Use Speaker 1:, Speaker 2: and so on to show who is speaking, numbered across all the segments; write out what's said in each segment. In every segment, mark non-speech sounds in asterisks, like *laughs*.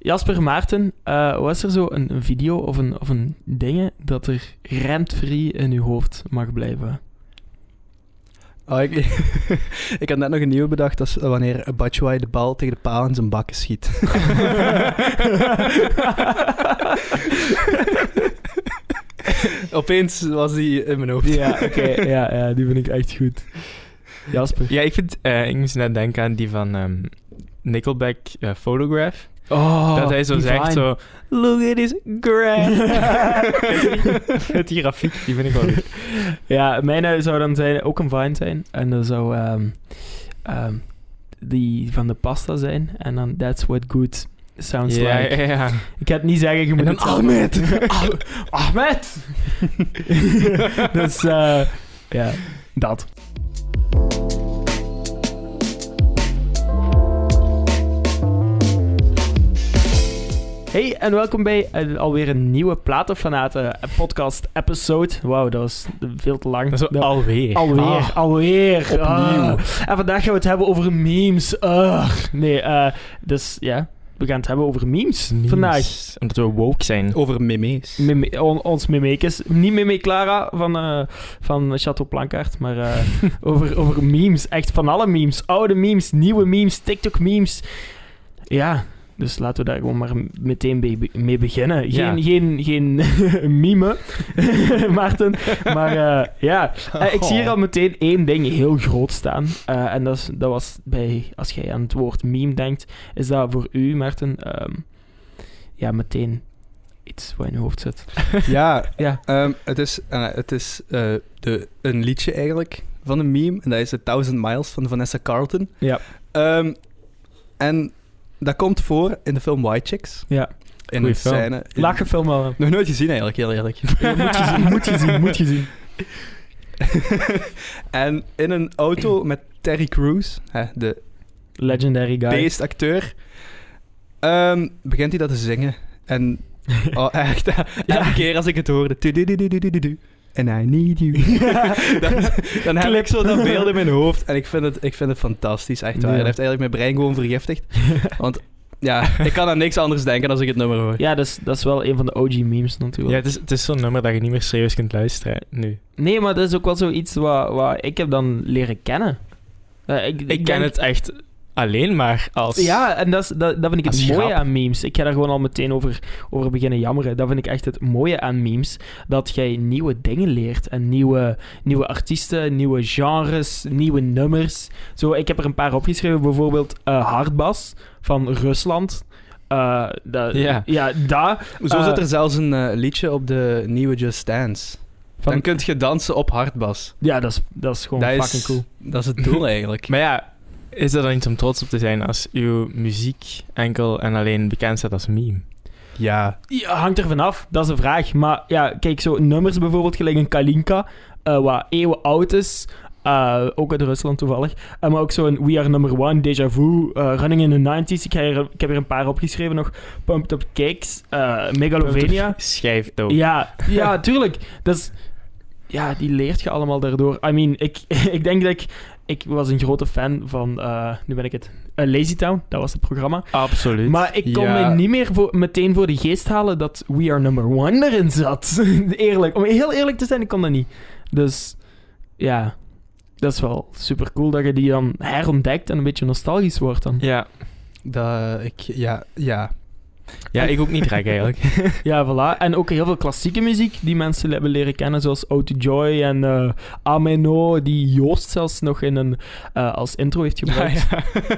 Speaker 1: Jasper Maarten, eh, was er zo een, een video of een, of een dingen dat er rent-free in uw hoofd mag
Speaker 2: *laughs*
Speaker 1: blijven?
Speaker 3: Ah, ik, *laughs* ik had net nog een nieuwe bedacht, dat is eh, wanneer Batshuayi de bal tegen de paal in zijn bakken schiet.
Speaker 2: *laughs*
Speaker 3: Opeens was die in mijn hoofd.
Speaker 1: ja, oké. ja, ja, die vind ik echt goed. Jasper.
Speaker 2: Ja, ik vind... eh, ik moest net denken aan die van ehm, Nickelback eh, Photograph.
Speaker 1: Oh,
Speaker 2: dat hij zo
Speaker 1: die
Speaker 2: zegt
Speaker 1: vine.
Speaker 2: zo... Look at his
Speaker 1: *laughs*
Speaker 2: graph. Het die grafiek, die vind ik wel goed.
Speaker 1: Ja, mijn eh, zou dan zijn, ook een vine zijn. En dan zou ehm, ehm, die van de pasta zijn. En dan that's what good sounds
Speaker 2: ja,
Speaker 1: like.
Speaker 2: ja, ja.
Speaker 1: Ik ga het niet zeggen, je moet
Speaker 3: En dan
Speaker 1: het zelf-
Speaker 3: Ahmed.
Speaker 1: Ah- *laughs* Ahmed! dus eh, ja, dat. Hey en welkom bij eh, alweer een nieuwe Platenfanaten eh, podcast episode. Wauw, dat was veel te lang.
Speaker 2: Dat is zo
Speaker 1: Dat-
Speaker 2: alweer.
Speaker 1: Alweer,
Speaker 2: Ah.
Speaker 1: alweer.
Speaker 3: opnieuw.
Speaker 1: Ah. En vandaag gaan we het hebben over memes. Ugh. Nee, eh, dus ja, we gaan het hebben over memes,
Speaker 2: Memes.
Speaker 1: vandaag.
Speaker 2: Omdat we woke
Speaker 1: *laughs*
Speaker 2: zijn.
Speaker 3: Over memes.
Speaker 1: Meme- on- ons memekes. Niet meme Clara van, eh, van Chateau Plankaart, maar eh, over, over memes. Echt van alle memes. Oude memes, nieuwe memes, TikTok-memes. Ja, dus laten we daar gewoon maar meteen bij- mee beginnen. Geen,
Speaker 2: Ja.
Speaker 1: geen, geen *laughs* meme, Oh, Maarten. Maar eh,
Speaker 2: *laughs*
Speaker 1: ja, Eh, ik zie
Speaker 2: Oh.
Speaker 1: hier al meteen één ding heel groot staan. Eh, en dat, is, dat was bij, als jij aan het woord meme denkt, is dat voor u, Maarten, ehm, ja, meteen iets wat in je hoofd zit.
Speaker 3: Ja,
Speaker 1: Ja.
Speaker 3: ehm, het is, eh, het is eh, de, een liedje eigenlijk van een meme. En dat is The Thousand Miles van Vanessa Carlton.
Speaker 1: Ja.
Speaker 3: Ehm, en dat komt voor in de film White Chicks.
Speaker 1: Ja.
Speaker 3: In
Speaker 2: Goeie
Speaker 3: een
Speaker 2: film.
Speaker 3: scène. in-
Speaker 1: Lage film al.
Speaker 3: Nog nooit gezien eigenlijk,
Speaker 1: *laughs*
Speaker 3: heel eerlijk.
Speaker 1: Moet je zien, moet je zien, moet je zien.
Speaker 3: *laughs* en in een auto met Terry Crews, hè, de
Speaker 1: Legendary guy.
Speaker 3: beestacteur, ehm, begint hij dat te zingen.
Speaker 1: *laughs*
Speaker 3: En oh, echt, hè, elke keer als ik het hoorde... tu-du-du-du-du-du-du, And I need *laughs* you. dan, dan heb ik zo dat beeld in mijn hoofd. En ik vind het, ik vind het fantastisch, echt waar.
Speaker 1: Ja.
Speaker 3: Dat heeft eigenlijk mijn brein gewoon vergiftigd. Want ja, ik kan aan niks anders denken als ik het nummer hoor.
Speaker 1: Ja, dat is, dat is wel een van de OG memes
Speaker 2: Ja,
Speaker 1: natuurlijk.
Speaker 2: het is, het is zo'n nummer dat je niet meer serieus kunt luisteren hè, nu.
Speaker 1: Nee, maar dat is ook wel zoiets wat, wat ik heb dan leren kennen. Eh, ik,
Speaker 2: Ik ken
Speaker 1: denk-
Speaker 2: het echt alleen maar als...
Speaker 1: Ja, en dat, is, dat, dat vind ik
Speaker 2: Als
Speaker 1: het mooie
Speaker 2: grap.
Speaker 1: aan memes. Ik ga daar gewoon al meteen over, over beginnen jammeren. Dat vind ik echt het mooie aan memes. Dat jij nieuwe dingen leert. En nieuwe, nieuwe artiesten, nieuwe genres, nieuwe nummers. Zo, ik heb er een paar opgeschreven. Bijvoorbeeld eh Hardbas van Rusland. Eh, dat-
Speaker 2: Ja.
Speaker 1: ja, daar.
Speaker 3: Zo
Speaker 1: Eh,
Speaker 3: zit er zelfs een eh, liedje op de nieuwe Just Dance.
Speaker 1: Van-
Speaker 3: Dan kun je dansen op hardbas.
Speaker 1: Ja, dat is, dat is gewoon
Speaker 3: Dat
Speaker 1: fucking
Speaker 3: is,
Speaker 1: cool.
Speaker 3: dat is het *laughs* doel eigenlijk.
Speaker 2: Maar ja, is dat dan iets om trots op te zijn als uw muziek enkel en alleen bekend staat als meme?
Speaker 3: ja,
Speaker 1: Ja, hangt er vanaf, dat is een vraag. Maar ja, kijk, zo nummers bijvoorbeeld, gelijk een Kalinka, eh, wat eeuwen oud is. eh, ook uit Rusland toevallig. Eh, maar ook zo'n We Are Number One, Deja Vu, eh, Running in the 90s. Ik, ga hier- ik heb er een paar opgeschreven nog. Pumped Up Cakes, eh, Megalovania.
Speaker 2: Schijf dood.
Speaker 1: Ja, ja, tuurlijk. Dat is, ja, die leert je allemaal daardoor. I mean, ik, *laughs* ik denk dat ik... Ik was een grote fan van... eh, nu ben ik het. eh, Lazy Town, dat was het programma.
Speaker 2: Absoluut.
Speaker 1: Maar ik kon
Speaker 3: Ja.
Speaker 1: me niet meer voor, meteen voor de geest halen dat We Are Number One erin zat. *laughs* eerlijk. Om heel eerlijk te zijn, ik kon dat niet. Dus ja, dat is wel super cool dat je die dan herontdekt en een beetje nostalgisch wordt dan.
Speaker 2: Ja.
Speaker 3: dat ik, ja, ja.
Speaker 2: ja, ik ook niet rek eigenlijk.
Speaker 1: Ja, voilà. En ook heel veel klassieke muziek die mensen hebben leren kennen, zoals Auto Joy en eh Ameno, die Joost zelfs nog in een, eh, als intro heeft gebruikt.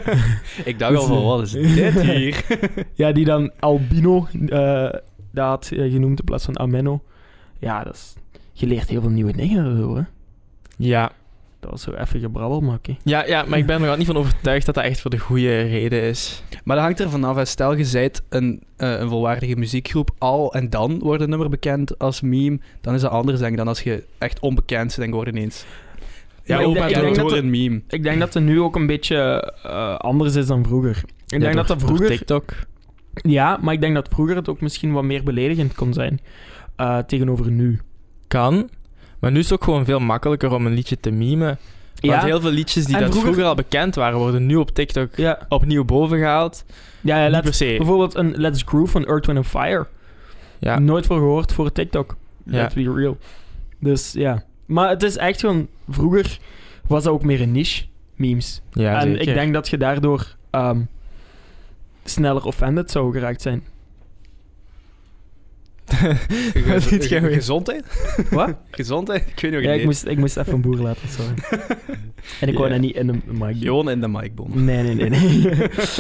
Speaker 2: *laughs*
Speaker 3: ik dacht al van, wat is dit hier?
Speaker 1: Ja, die dan Albino eh dat had eh, genoemd in plaats van Ameno. Ja, dat is... Je leert heel veel nieuwe dingen daardoor, hè.
Speaker 2: ja.
Speaker 1: Dat was zo even gebrabbel, maar oké.
Speaker 2: Ja, ja, maar ik ben er nog niet van overtuigd dat dat echt voor de goede reden is.
Speaker 3: *laughs* Maar dat hangt er vanaf. hè. Stel, je zijt een, eh, een volwaardige muziekgroep. Al en dan wordt een nummer bekend als meme. Dan is dat anders, denk ik, dan als je echt onbekend bent en wordt ineens...
Speaker 1: Ja,
Speaker 3: Ja,
Speaker 1: ik
Speaker 3: ook
Speaker 1: denk-
Speaker 3: maar
Speaker 1: ik
Speaker 3: door
Speaker 1: denk
Speaker 3: door
Speaker 1: dat
Speaker 3: een *laughs* meme.
Speaker 1: Ik denk dat het nu ook een beetje eh, anders is dan vroeger. Ik denk dat dat vroeger...
Speaker 2: TikTok.
Speaker 1: Ja, maar ik denk dat vroeger het ook misschien wat meer beledigend kon zijn. eh, tegenover nu.
Speaker 2: Kan. Maar nu is het ook gewoon veel makkelijker om een liedje te memen. Want
Speaker 1: Ja.
Speaker 2: heel veel liedjes die
Speaker 1: En
Speaker 2: dat
Speaker 1: vroeger-
Speaker 2: vroeger... al bekend waren, worden nu op TikTok
Speaker 1: Ja,
Speaker 2: opnieuw bovengehaald.
Speaker 1: ja, ja
Speaker 2: Niet
Speaker 1: let's,
Speaker 2: per se.
Speaker 1: bijvoorbeeld een Let's Groove van Earth, Wind Fire.
Speaker 2: Ja.
Speaker 1: Nooit voor gehoord voor TikTok.
Speaker 2: Ja.
Speaker 1: Let's be real. Dus ja. Maar het is echt gewoon... Vroeger was dat ook meer een niche, memes.
Speaker 2: Ja,
Speaker 1: en
Speaker 2: zeker.
Speaker 1: ik denk dat je daardoor ehm, sneller offended zou geraakt *laughs* zijn.
Speaker 2: dat niet
Speaker 3: *laughs* Ge-
Speaker 2: gaan we-
Speaker 3: Gezondheid?
Speaker 1: Wat?
Speaker 3: Gezondheid? Ik weet niet wat
Speaker 1: ja,
Speaker 3: je
Speaker 1: ik moest, ik moest even een boer laten, sorry.
Speaker 3: *laughs*
Speaker 1: En ik wou
Speaker 2: Ja.
Speaker 1: dat niet in de mic doen.
Speaker 3: Gewoon in de micbom.
Speaker 1: Nee, nee, nee. Nee,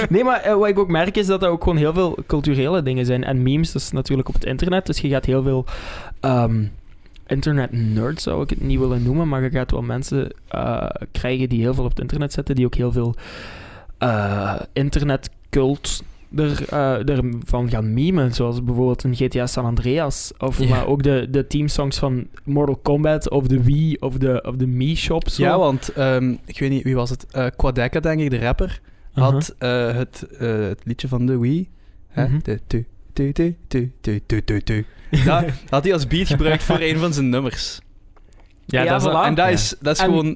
Speaker 1: nee maar eh, wat ik ook merk is dat er ook gewoon heel veel culturele dingen zijn. En memes, dat is natuurlijk op het internet. Dus je gaat heel veel ehm internet nerds, zou ik het niet willen noemen. Maar je gaat wel mensen eh, krijgen die heel veel op het internet zitten. Die ook heel veel eh internetcult er, eh, ervan gaan memen. Zoals bijvoorbeeld een GTA San Andreas. Of
Speaker 2: Ja.
Speaker 1: maar ook de, de teamsongs van Mortal Kombat. Of de Wii. Of de, of de Mii Shop. Zo.
Speaker 3: Ja, want ehm, ik weet niet, wie was het? Eh Quadeca, denk ik, de rapper, had eh, het, eh, het liedje van de Wii. Hè?
Speaker 1: Mhm.
Speaker 3: De tu, tu, tu, tu, tu, tu, tu, tu.
Speaker 1: Uh-huh.
Speaker 3: Dat
Speaker 1: *laughs*
Speaker 3: had hij als beat gebruikt voor een van zijn nummers.
Speaker 2: Ja,
Speaker 1: Ja,
Speaker 2: dat is
Speaker 1: voilà.
Speaker 3: En dat
Speaker 2: ja.
Speaker 3: is, dat is
Speaker 1: En-
Speaker 3: gewoon...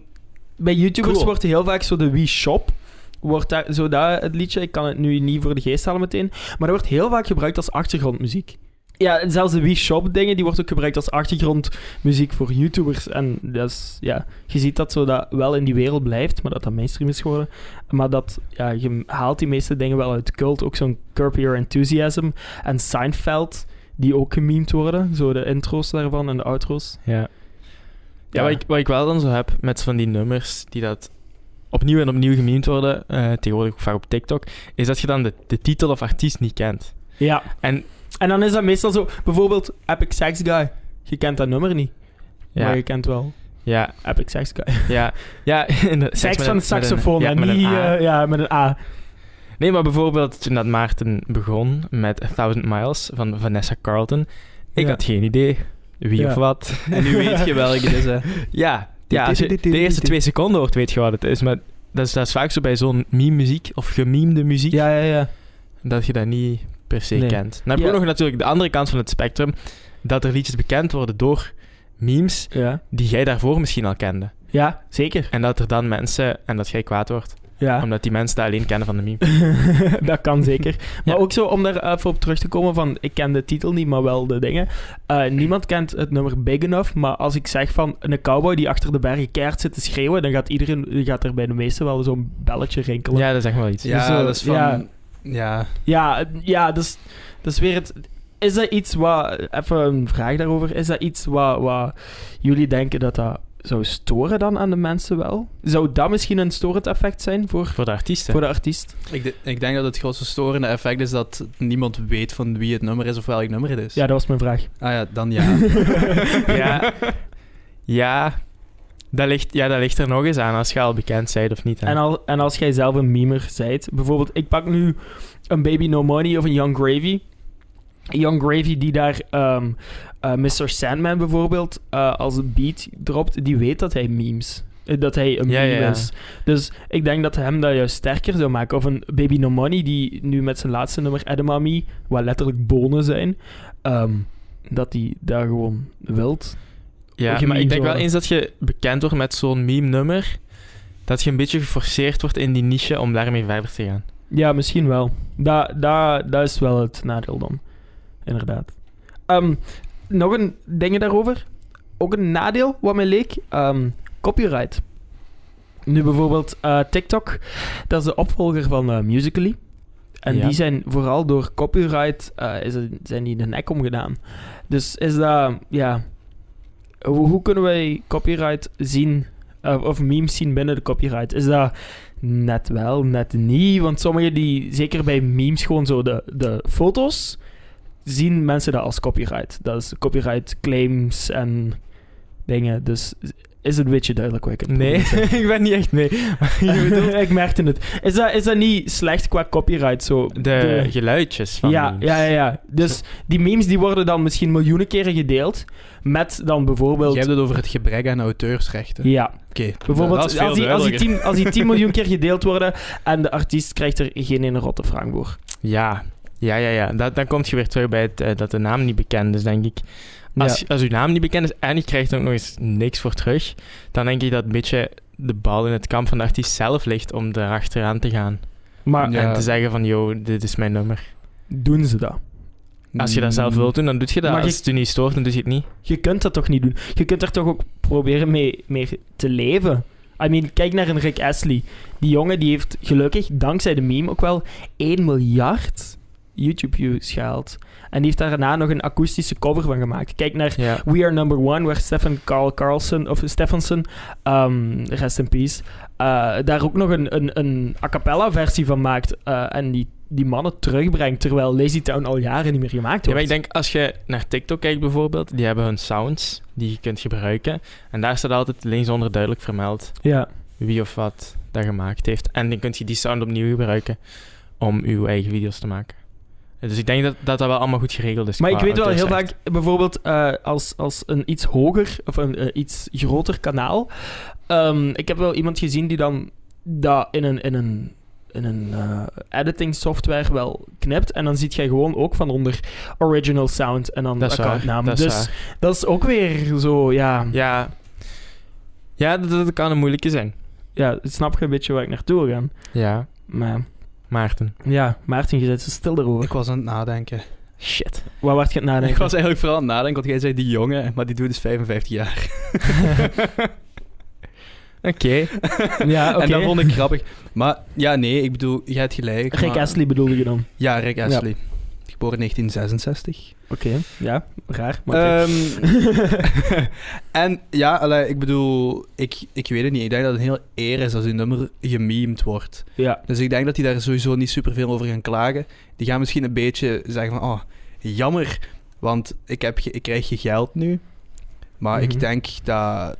Speaker 1: Bij YouTubers
Speaker 3: Cool.
Speaker 1: wordt heel vaak zo de Wii Shop. Wordt daar, zo dat, het liedje, ik kan het nu niet voor de geest halen meteen. Maar dat wordt heel vaak gebruikt als achtergrondmuziek. Ja, en zelfs de Wii Shop dingen, die wordt ook gebruikt als achtergrondmuziek voor YouTubers. En dat is, ja, je ziet dat zo dat wel in die wereld blijft, maar dat dat mainstream is geworden. Maar dat, ja, je haalt die meeste dingen wel uit cult. Ook zo'n Curb Your Enthusiasm en Seinfeld, die ook gememd worden. Zo de intro's daarvan en de outro's.
Speaker 2: Ja, ja wat, ik, wat ik wel dan zo heb met van die nummers die dat opnieuw en opnieuw gememd worden, eh, tegenwoordig ook vaak op TikTok, is dat je dan de, de titel of artiest niet kent.
Speaker 1: Ja.
Speaker 2: En
Speaker 1: En dan is dat meestal zo, bijvoorbeeld Epic Sex Guy. Je kent dat nummer niet, maar
Speaker 2: ja,
Speaker 1: je kent wel
Speaker 2: ja,
Speaker 1: Epic Sex Guy.
Speaker 2: ja, ja. *laughs* in de-
Speaker 1: Sex
Speaker 2: met
Speaker 1: van
Speaker 2: een-
Speaker 1: een saxofoon,
Speaker 2: met
Speaker 1: ja,
Speaker 2: een- ja, met een
Speaker 1: niet,
Speaker 2: A.
Speaker 1: eh, ja, met een A.
Speaker 2: Nee, maar bijvoorbeeld toen dat Maarten begon met A Thousand Miles van Vanessa Carlton, ik
Speaker 1: Ja.
Speaker 2: had geen idee wie
Speaker 1: Ja.
Speaker 2: of
Speaker 1: *laughs*
Speaker 2: wat.
Speaker 3: En nu weet je welke het is, dus, hè.
Speaker 2: Ja, ja als je de eerste twee seconden hoort, weet je wat het is. Maar dat is, dat is vaak zo bij zo'n meme-muziek of gememde muziek.
Speaker 1: Ja, ja, ja.
Speaker 2: dat je dat niet per se
Speaker 1: Nee.
Speaker 2: kent. Dan heb je
Speaker 1: Ja.
Speaker 2: ook nog natuurlijk de andere kant van het spectrum, dat er liedjes bekend worden door memes
Speaker 1: Ja,
Speaker 2: die jij daarvoor misschien al kende.
Speaker 1: ja zeker.
Speaker 2: En dat er dan mensen, en dat jij kwaad wordt,
Speaker 1: Ja.
Speaker 2: omdat die mensen dat alleen kennen van de meme.
Speaker 1: *laughs* dat kan
Speaker 2: *laughs*
Speaker 1: zeker. *laughs* Maar
Speaker 2: Ja.
Speaker 1: ook zo, om daar even op terug te komen van, ik ken de titel niet, maar wel de dingen. Eh, niemand kent het nummer Big Enough, maar als ik zeg van een cowboy die achter de bergen keihard zit te schreeuwen, dan gaat iedereen, die gaat er bij de meeste wel zo'n belletje rinkelen.
Speaker 2: Ja, dat is echt wel iets. Dus-
Speaker 3: Ja,
Speaker 1: Zo,
Speaker 3: dat is van...
Speaker 1: ja.
Speaker 3: Ja.
Speaker 1: Ja, eh, ja dus, dus weer het. Is dat iets wat. eh, Even een vraag daarover. Is dat iets wat, wat jullie denken dat dat zou storen dan aan de mensen wel? Zou dat misschien een storend effect zijn voor,
Speaker 2: Voor de artiesten.
Speaker 1: voor de artiest?
Speaker 3: Ik, de- ik denk dat het grootste storende effect is dat niemand weet van wie het nummer is of welk nummer het is.
Speaker 1: Ja, dat was mijn vraag. *laughs*
Speaker 3: Ah ja, dan ja.
Speaker 2: Ja. ja, dat ligt, ja, dat ligt er nog eens aan als je al bekend bent of niet. hè.
Speaker 1: En, al, en als jij zelf een memer zijt, bijvoorbeeld, ik pak nu een Baby No Money of een Young Gravy. Young Gravy die daar ehm, eh, Mr. Sandman bijvoorbeeld eh, als een beat dropt, die weet dat hij memes. eh, Dat hij een
Speaker 2: Ja,
Speaker 1: meme
Speaker 2: ja, ja.
Speaker 1: is. Dus ik denk dat hem dat juist sterker zou maken. Of een Baby No Money die nu met zijn laatste nummer Edamame, wat letterlijk bonen zijn, ehm, dat hij daar gewoon wilt.
Speaker 2: Ja, maar
Speaker 1: gememes
Speaker 2: ik denk wel
Speaker 1: worden.
Speaker 2: eens dat je bekend wordt met zo'n meme-nummer, dat je een beetje geforceerd wordt in die niche om daarmee verder te gaan.
Speaker 1: Ja, misschien wel. Dat da, da is wel het nadeel dan. Inderdaad. Ehm, nog een ding daarover. Ook een nadeel, wat mij leek. ehm, copyright. Nu bijvoorbeeld eh, TikTok. Dat is de opvolger van eh, Musical.ly. En
Speaker 2: Ja.
Speaker 1: die zijn vooral door copyright eh, is er- zijn die de nek omgedaan. Dus is dat... Ja, hoe, hoe kunnen wij copyright zien... eh, of memes zien binnen de copyright? Is dat... Net wel, net niet. Want sommigen die, zeker bij memes, gewoon zo de, de foto's, zien mensen dat als copyright. Dat is copyright claims en dingen. Dus is het een beetje duidelijk wat ik het
Speaker 2: Nee, ik ben niet echt mee. Maar *laughs* je bedoelt
Speaker 1: *laughs* ik merkte het. Is dat, is dat niet slecht qua copyright zo?
Speaker 2: de,
Speaker 1: De-
Speaker 2: geluidjes van
Speaker 1: ja,
Speaker 2: memes.
Speaker 1: ja, ja, ja. Dus die memes die worden dan misschien miljoenen keren gedeeld. Met dan bijvoorbeeld.
Speaker 3: Je hebt het over het gebrek aan auteursrechten.
Speaker 1: Ja,
Speaker 3: Oké,
Speaker 1: bijvoorbeeld
Speaker 3: dat is veel
Speaker 1: als, die, als, die
Speaker 3: duidelijker.
Speaker 1: 10, als die 10
Speaker 2: *laughs*
Speaker 1: miljoen keer gedeeld worden en de artiest krijgt er geen ene rotte frank voor.
Speaker 2: Ja, ja, ja. ja. Dat, dan kom je weer terug bij het, eh, dat de naam niet bekend is, denk ik. Als, als uw naam niet bekend is en je krijgt er ook nog eens niks voor terug, dan denk ik dat een beetje de bal in het kamp van de artiest zelf ligt om erachteraan te gaan.
Speaker 1: Maar
Speaker 3: Ja.
Speaker 2: En te zeggen van, yo, dit is mijn nummer.
Speaker 1: doen ze dat?
Speaker 2: Als je dat zelf
Speaker 1: Mm.
Speaker 2: wilt doen, dan doe je dat.
Speaker 1: Maar
Speaker 2: Als
Speaker 1: je-
Speaker 2: het je niet stoort, dan doe je het
Speaker 1: *laughs*
Speaker 2: niet.
Speaker 1: Je kunt dat toch niet doen? Je kunt er toch ook proberen mee, mee te leven? I mean, kijk naar een Rick Astley. Die jongen die heeft gelukkig, dankzij de meme ook wel, 1 miljard YouTube-views gehaald. En die heeft daarna nog een akoestische cover van gemaakt. Kijk naar
Speaker 2: Ja.
Speaker 1: We Are Number One, waar Stefan Carl Carlson, of Stephenson, ehm, rest in peace, eh, daar ook nog een, een, een a cappella versie van maakt eh, en die, die mannen terugbrengt, terwijl Lazy Town al jaren niet meer gemaakt
Speaker 2: Ja, maar
Speaker 1: wordt.
Speaker 2: ik denk als je naar TikTok kijkt bijvoorbeeld, die hebben hun sounds die je kunt gebruiken. En daar staat altijd linksonder duidelijk vermeld
Speaker 1: Ja.
Speaker 2: wie of wat dat gemaakt heeft. En dan kun je die sound opnieuw gebruiken om uw eigen video's te maken. Dus ik denk dat dat, dat wel allemaal goed geregeld is.
Speaker 1: Maar ik
Speaker 2: Dus qua
Speaker 1: weet wel heel
Speaker 2: auteursrecht.
Speaker 1: vaak, bijvoorbeeld eh, als, als een iets hoger of een eh, iets groter kanaal. ehm, ik heb wel iemand gezien die dan dat in een, in een, in een eh, editing software wel knipt. En dan ziet jij gewoon ook van onder original sound en dan
Speaker 2: Dat is waar,
Speaker 1: accountnaam.
Speaker 2: dat is
Speaker 1: dus
Speaker 2: waar.
Speaker 1: dat is ook weer zo, ja. ja.
Speaker 2: Ja, ja dat, dat kan een moeilijke zijn.
Speaker 1: snap je een beetje waar ik naartoe wil gaan.
Speaker 2: Ja,
Speaker 1: Maar
Speaker 2: Maarten.
Speaker 1: ja, Maarten, je zit zo stil daarover.
Speaker 3: Ik was aan het nadenken.
Speaker 2: Shit.
Speaker 1: Waar werd je aan het
Speaker 2: *laughs*
Speaker 1: nadenken?
Speaker 3: Ik was eigenlijk vooral aan het nadenken, want jij zei die jongen, maar die doet dus 55
Speaker 1: *laughs*
Speaker 3: jaar.
Speaker 2: Oké. *laughs*
Speaker 1: Ja, oké.
Speaker 3: En dat vond ik grappig. Maar ja, nee, ik bedoel, jij hebt gelijk.
Speaker 1: Rick
Speaker 3: maar-
Speaker 1: Astley bedoelde je dan?
Speaker 3: Ja, Rick Astley. Geboren 1966.
Speaker 1: Oké, ja, raar.
Speaker 2: Eh,
Speaker 1: Maar oké.
Speaker 3: Ehm,
Speaker 1: *laughs*
Speaker 3: en ja, allee, ik bedoel, ik, ik weet het niet. Ik denk dat het een heel eer is als die nummer gememed wordt.
Speaker 1: ja.
Speaker 3: Dus ik denk dat die daar sowieso niet superveel over gaan klagen. Die gaan misschien een beetje zeggen van, oh, jammer, want ik, heb ge- ik krijg je geld nu. Maar
Speaker 1: Mhm.
Speaker 3: ik denk dat,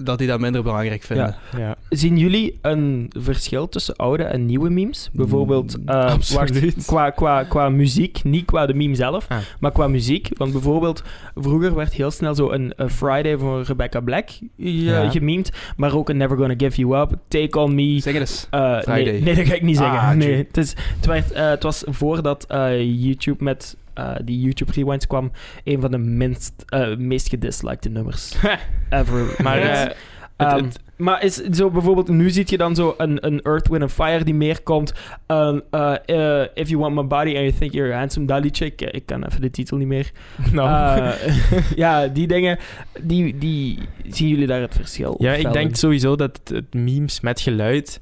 Speaker 3: dat die dat minder belangrijk vinden.
Speaker 1: Ja.
Speaker 2: Ja.
Speaker 1: Zien jullie een verschil tussen oude en nieuwe memes? Bijvoorbeeld
Speaker 3: Mm,
Speaker 1: eh,
Speaker 3: absoluut.
Speaker 1: wacht, qua, qua, qua muziek, niet qua de meme zelf,
Speaker 2: Ah. *laughs*
Speaker 1: maar qua muziek. Want bijvoorbeeld, vroeger werd heel snel zo een eh, Friday van Rebecca Black eh,
Speaker 2: Ja.
Speaker 1: gememd, maar ook een Never Gonna Give You Up, Take On Me.
Speaker 3: Zeg het eens.
Speaker 1: eh, nee,
Speaker 3: Friday.
Speaker 1: nee, dat ga ik niet zeggen.
Speaker 3: Ah,
Speaker 1: nee,
Speaker 3: tjoe.
Speaker 1: het, is, het, werd, eh, het was voordat eh, YouTube met eh, die YouTube Rewinds kwam, een van de minst, eh, meest gedislikte nummers
Speaker 2: *laughs*
Speaker 1: ever.
Speaker 2: maar
Speaker 1: werd.
Speaker 2: eh, het-
Speaker 1: Ehm,
Speaker 2: het-
Speaker 1: maar is zo bijvoorbeeld, nu zie je dan zo een, een Earth, Wind and Fire die meer komt. Ehm, eh, eh, if you want my body and you think you're handsome, dat liedje. Ik, ik kan even de titel niet meer.
Speaker 2: nou.
Speaker 1: Eh, ja, die dingen, die, die zien jullie daar het verschil?
Speaker 2: *laughs* Ja,
Speaker 1: fel
Speaker 2: ik
Speaker 1: in?
Speaker 2: denk sowieso dat het, het memes met geluid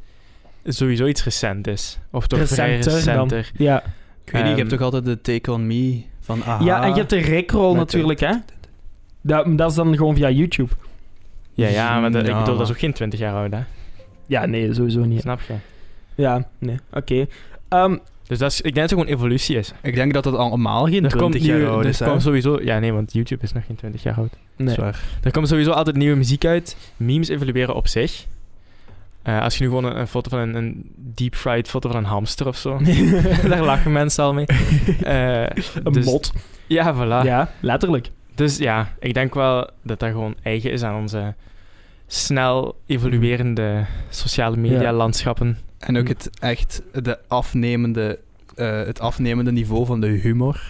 Speaker 2: sowieso iets recent is. Of toch vrij
Speaker 1: Recenter dan.
Speaker 2: recenter.
Speaker 1: Ja.
Speaker 3: Ik weet niet, je
Speaker 2: Ehm,
Speaker 3: hebt toch altijd de Take On Me van Aha?
Speaker 1: ja, en je hebt de Rickroll
Speaker 3: Met-
Speaker 1: Ah. natuurlijk, hè? Dat, dat is dan gewoon via YouTube.
Speaker 2: Ja, ja, maar dat, ik
Speaker 3: Ja,
Speaker 2: bedoel, dat
Speaker 3: maar-
Speaker 2: is ook geen 20 jaar oud, hè?
Speaker 1: Ja, nee, sowieso niet.
Speaker 2: Snap je?
Speaker 1: Ja, nee, oké. Ehm,
Speaker 2: Dus dat is, ik denk dat het gewoon evolutie is.
Speaker 3: Ik denk dat dat allemaal geen 20
Speaker 2: nieuwe-
Speaker 3: jaar oud
Speaker 2: er
Speaker 3: is. hè?
Speaker 2: komt sowieso... Ja, nee, want YouTube is nog geen 20 jaar oud.
Speaker 1: nee.
Speaker 3: Zwaar.
Speaker 2: Er komt sowieso altijd nieuwe muziek uit. Memes evolueren op zich. Eh, als je nu gewoon een, een foto van een, een deep-fried foto van een hamster of
Speaker 1: *laughs*
Speaker 2: zo... *laughs* daar lachen mensen al mee. Eh,
Speaker 1: Een
Speaker 2: dus- Ah.
Speaker 1: mod.
Speaker 2: Ja, voilà.
Speaker 1: Ja, letterlijk.
Speaker 2: Dus ja, ik denk wel dat dat gewoon eigen is aan onze snel evoluerende sociale media landschappen. *laughs*
Speaker 3: En ook het echt de afnemende, eh, het afnemende niveau van de humor.
Speaker 2: *laughs*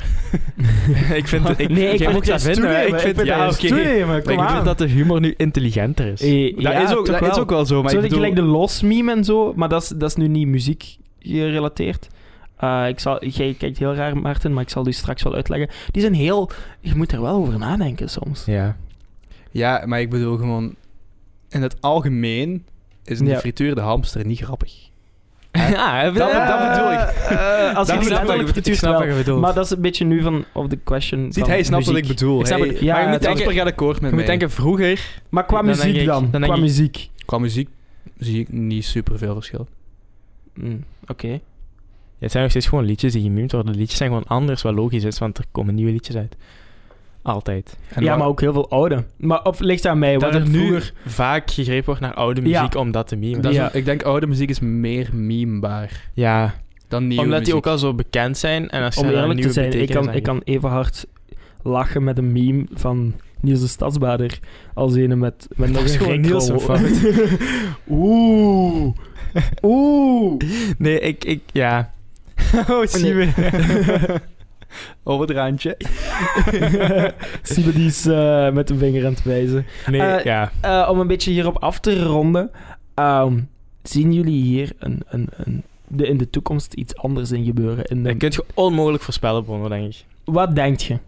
Speaker 2: ik vind,
Speaker 1: *laughs*
Speaker 2: ik,
Speaker 1: nee, ik
Speaker 2: jij
Speaker 1: vind het
Speaker 2: moet dat
Speaker 1: juist
Speaker 2: vinden, hè.
Speaker 1: toenemen.
Speaker 2: Ik vind, ja,
Speaker 1: juist
Speaker 2: oké.
Speaker 1: toenemen,
Speaker 2: Maar
Speaker 1: kom
Speaker 2: ik
Speaker 1: aan.
Speaker 2: vind dat de humor nu intelligenter is.
Speaker 1: Eh,
Speaker 3: dat
Speaker 1: ja,
Speaker 3: is, ook,
Speaker 1: toch
Speaker 3: dat is ook wel zo, maar
Speaker 1: Zo
Speaker 3: ik
Speaker 1: dat
Speaker 3: bedoel...
Speaker 1: gelijk de los meme en zo, maar dat is, dat is nu niet muziek gerelateerd. Eh, ik zal, jij kijkt heel raar, Maarten, maar ik zal die straks wel uitleggen. Die zijn heel... Je moet er wel over nadenken soms.
Speaker 2: Ja.
Speaker 3: Ja, maar ik bedoel gewoon... In het algemeen is een
Speaker 1: Ja.
Speaker 3: gefrituurde hamster niet grappig.
Speaker 2: Ja, dat,
Speaker 1: dat- dat bedoel
Speaker 3: ik.
Speaker 2: Eh,
Speaker 1: als je het
Speaker 3: Dat snap
Speaker 1: letterlijk
Speaker 3: ik,
Speaker 2: ik
Speaker 1: vertuurt
Speaker 2: snap
Speaker 1: wel.
Speaker 2: wat je bedoelt.
Speaker 1: Maar dat is een beetje nu van of the question
Speaker 3: Ziet,
Speaker 1: van
Speaker 3: hij snapt wat ik
Speaker 1: muziek.
Speaker 3: bedoel.
Speaker 2: Ik snap
Speaker 3: Hij-
Speaker 2: het.
Speaker 1: Ja,
Speaker 3: maar je moet
Speaker 1: het
Speaker 2: is-
Speaker 3: denken, gaat akkoord met
Speaker 2: Je
Speaker 3: mij.
Speaker 2: moet denken, vroeger...
Speaker 1: Maar qua
Speaker 2: Dan denk
Speaker 1: muziek
Speaker 2: ik-
Speaker 1: dan,
Speaker 2: dan denk
Speaker 1: qua
Speaker 2: ik-
Speaker 1: muziek.
Speaker 3: Qua muziek zie ik niet superveel verschil.
Speaker 2: Hmm,
Speaker 1: Mm, Oké.
Speaker 2: Ja, het zijn nog steeds gewoon liedjes die gemimd worden. De liedjes zijn gewoon anders, wat logisch is, want er komen nieuwe liedjes uit. Altijd.
Speaker 3: En
Speaker 1: Ja,
Speaker 3: wat-
Speaker 1: maar ook heel veel oude. Maar of ligt aan mij,
Speaker 2: dat
Speaker 1: wat
Speaker 2: er
Speaker 1: er
Speaker 2: nu
Speaker 1: vroeger...
Speaker 2: vaak gegrepen wordt naar oude muziek om dat te memen.
Speaker 3: dat is
Speaker 1: Ja.
Speaker 3: een- ik denk oude muziek is meer memebaar
Speaker 2: ja,
Speaker 3: dan nieuwe
Speaker 2: Omdat die
Speaker 3: muziek.
Speaker 2: ook al zo bekend zijn en als je
Speaker 1: Om
Speaker 2: daar een
Speaker 1: eerlijk te
Speaker 2: nieuwe
Speaker 1: zijn, ik
Speaker 2: betekenis
Speaker 1: kan,
Speaker 2: aan
Speaker 1: ik
Speaker 2: *laughs*
Speaker 1: kan even hard lachen met een meme van Niels de Stadsbader als ene met,
Speaker 2: *laughs*
Speaker 1: met nog
Speaker 2: is
Speaker 1: een
Speaker 2: gewoon
Speaker 1: Rick
Speaker 2: Niels
Speaker 1: Roll.
Speaker 2: zijn
Speaker 1: *laughs*
Speaker 2: *laughs*
Speaker 1: Oeh. Oeh.
Speaker 2: *laughs*
Speaker 1: *laughs*
Speaker 2: geeft. Nee, ik, ik ja. Oh, zie
Speaker 1: Nee.
Speaker 2: je.
Speaker 3: Op het randje.
Speaker 1: Sibelius eh met de vinger aan het wijzen.
Speaker 2: *laughs* Nee,
Speaker 1: Eh,
Speaker 2: ja.
Speaker 1: Eh, om een beetje hierop af te ronden. ehm, zien jullie hier een, een, een, de, in de toekomst iets anders in gebeuren? In de-
Speaker 2: Dat kun je onmogelijk voorspellen, Bruno, denk ik.
Speaker 1: Wat denkt je?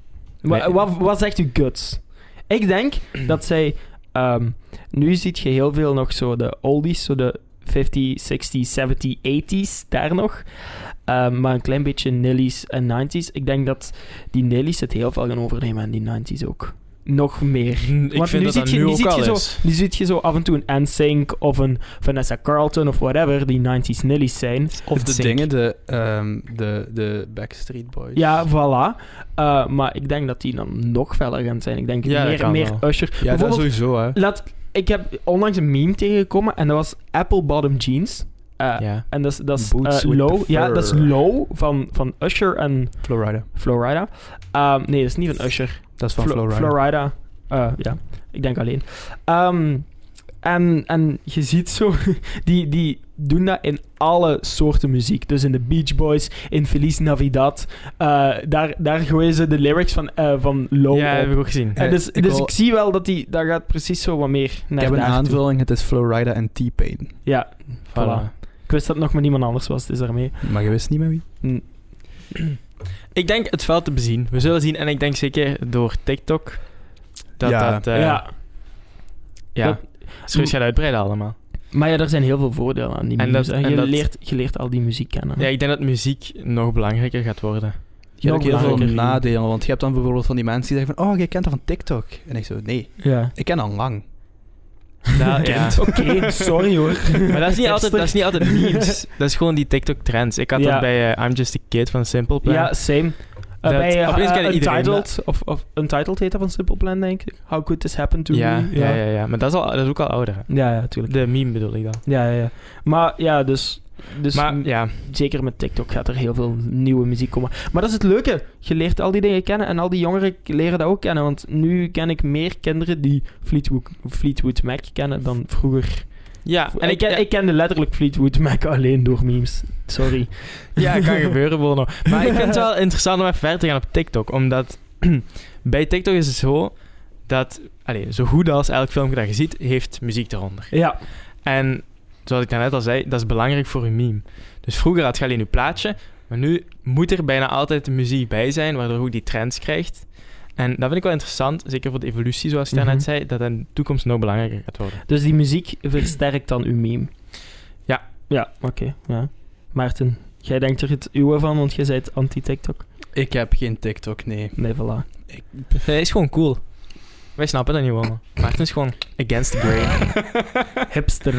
Speaker 1: Wa-
Speaker 2: Nee.
Speaker 1: Wat, wat zegt u guts? Ik denk dat zij... ehm, nu ziet je heel veel nog zo de oldies, zo de 50, 60, 70, 80s, daar nog. Ehm, maar een klein beetje nillies en 90s. Ik denk dat die nillies het heel veel gaan overnemen en die 90s ook. Nog meer.
Speaker 2: Ik
Speaker 1: Want
Speaker 2: vind
Speaker 1: nu
Speaker 2: dat dat
Speaker 1: ziet je,
Speaker 2: nu
Speaker 1: nu
Speaker 2: ook
Speaker 1: ziet
Speaker 2: al
Speaker 1: je
Speaker 2: is.
Speaker 1: zo, nu ziet je zo af en toe een NSYNC of een Vanessa Carlton of whatever, die 90s nillies zijn.
Speaker 3: Of de
Speaker 2: Zink.
Speaker 3: dingen, de, ehm, de, de Backstreet Boys.
Speaker 1: Ja, voilà. Eh, maar ik denk dat die dan nog feller gaan zijn. Ik denk
Speaker 2: Ja, dat
Speaker 1: meer,
Speaker 2: kan
Speaker 1: meer
Speaker 2: wel.
Speaker 1: Usher.
Speaker 3: ja dat
Speaker 1: Bijvoorbeeld,
Speaker 3: sowieso, hè.
Speaker 1: laat, ik heb onlangs een meme tegengekomen en dat was Apple Bottom Jeans. Eh,
Speaker 2: Ja,
Speaker 1: En dat is, dat is
Speaker 3: Boots
Speaker 1: eh,
Speaker 3: with
Speaker 1: low.
Speaker 3: the
Speaker 1: Ja, dat is
Speaker 3: fur.
Speaker 1: low van, van Usher en
Speaker 3: Florida.
Speaker 1: Florida. Ehm, nee, dat is niet van Usher.
Speaker 3: Dat is van
Speaker 1: Flo-
Speaker 3: Florida.
Speaker 1: Florida. Eh, ja, ik denk alleen. Ehm, en, en je ziet zo, *laughs* die, die doen dat in alle soorten muziek. Dus in de Beach Boys, in Feliz Navidad. Eh, daar, daar gooien ze de lyrics van, eh, van Low
Speaker 2: ja
Speaker 1: op.
Speaker 2: heb ik ook gezien.
Speaker 1: En dus
Speaker 3: ik
Speaker 1: ik, dus
Speaker 3: wil-
Speaker 1: ik zie wel dat die, daar gaat precies zo wat meer naar
Speaker 3: Ik heb een
Speaker 1: daar toe.
Speaker 3: aanvulling, het is Florida en T-Pain.
Speaker 1: Ja,
Speaker 2: Voilà.
Speaker 1: voilà. ik wist dat het nog maar niemand anders was, dus daarmee.
Speaker 3: Maar je wist niet meer wie.
Speaker 2: Ik denk het veld te bezien. We zullen zien, en ik denk zeker door TikTok, dat
Speaker 3: Ja.
Speaker 2: dat... eh, ja.
Speaker 1: ja. dat-
Speaker 2: serieus gaat uitbreiden allemaal.
Speaker 1: Maar ja, er zijn heel veel voordelen aan die
Speaker 2: En
Speaker 1: muziek.
Speaker 2: dat-
Speaker 1: hè.
Speaker 2: en
Speaker 1: je,
Speaker 2: dat-
Speaker 1: leert, je leert al die muziek kennen.
Speaker 2: Ja, ik denk dat muziek nog belangrijker gaat worden.
Speaker 3: Je hebt
Speaker 1: Nog
Speaker 3: ook heel veel
Speaker 1: belangrijker.
Speaker 3: nadelen, want je hebt dan bijvoorbeeld van die mensen die zeggen van, oh, jij kent dat van TikTok. En ik zo, nee,
Speaker 1: Ja.
Speaker 3: ik ken al lang.
Speaker 2: Nou, ja.
Speaker 1: *laughs* Oké, sorry hoor.
Speaker 2: *laughs* Maar dat is, niet altijd, dat is niet *laughs* altijd
Speaker 1: Hipster.
Speaker 2: memes. Dat is gewoon die TikTok-trends. Ik had
Speaker 1: Ja.
Speaker 2: dat bij eh, I'm Just a Kid van Simple Plan.
Speaker 1: Ja, same. Uh,
Speaker 2: Dat-
Speaker 1: bij eh,
Speaker 2: opeens
Speaker 1: eh,
Speaker 2: kennen iedereen
Speaker 1: Untitled, of, of Untitled heet dat van Simple Plan, denk ik. How Could This Happen To
Speaker 2: ja,
Speaker 1: Me.
Speaker 2: ja, ja, ja. Maar dat is, al, dat is ook al ouder. hè.
Speaker 1: ja, ja, tuurlijk.
Speaker 2: De meme bedoel ik dan.
Speaker 1: Ja, ja, ja. Maar ja, dus, dus
Speaker 2: maar
Speaker 1: m-
Speaker 2: ja,
Speaker 1: zeker met TikTok gaat er heel veel nieuwe muziek komen. Maar dat is het leuke. Je leert al die dingen kennen en al die jongeren k- leren dat ook kennen. Want nu ken ik meer kinderen die Fleetwood, Fleetwood Mac kennen dan vroeger.
Speaker 2: ja.
Speaker 1: En ik, ken-
Speaker 2: ja,
Speaker 1: ik kende letterlijk Fleetwood Mac alleen door memes. Sorry.
Speaker 2: ja, *laughs* kan gebeuren, Bono. Maar ik vind het wel interessant om even verder te gaan op TikTok. Omdat *clears throat* bij TikTok is het zo dat, allee, zo goed als elk filmpje dat je ziet, heeft muziek eronder.
Speaker 1: Ja,
Speaker 2: En zoals ik daarnet al zei, dat is belangrijk voor je meme. Dus vroeger had je alleen je plaatje, maar nu moet er bijna altijd de muziek bij zijn, waardoor je ook die trends krijgt. En dat vind ik wel interessant, zeker voor de evolutie, zoals je daarnet
Speaker 1: Mhm.
Speaker 2: zei, dat dat in de toekomst nog belangrijker gaat worden.
Speaker 1: dus die muziek versterkt dan uw meme.
Speaker 2: Ja.
Speaker 1: Ja, oké. ja. Maarten, jij denkt er het uwe van, want jij bent anti-TikTok.
Speaker 3: Ik heb geen TikTok, nee.
Speaker 1: Nee, voilà.
Speaker 2: Hij is gewoon cool. Wij snappen dat niet, Wonen. Maarten is *laughs* gewoon against the grain.
Speaker 1: Hipster.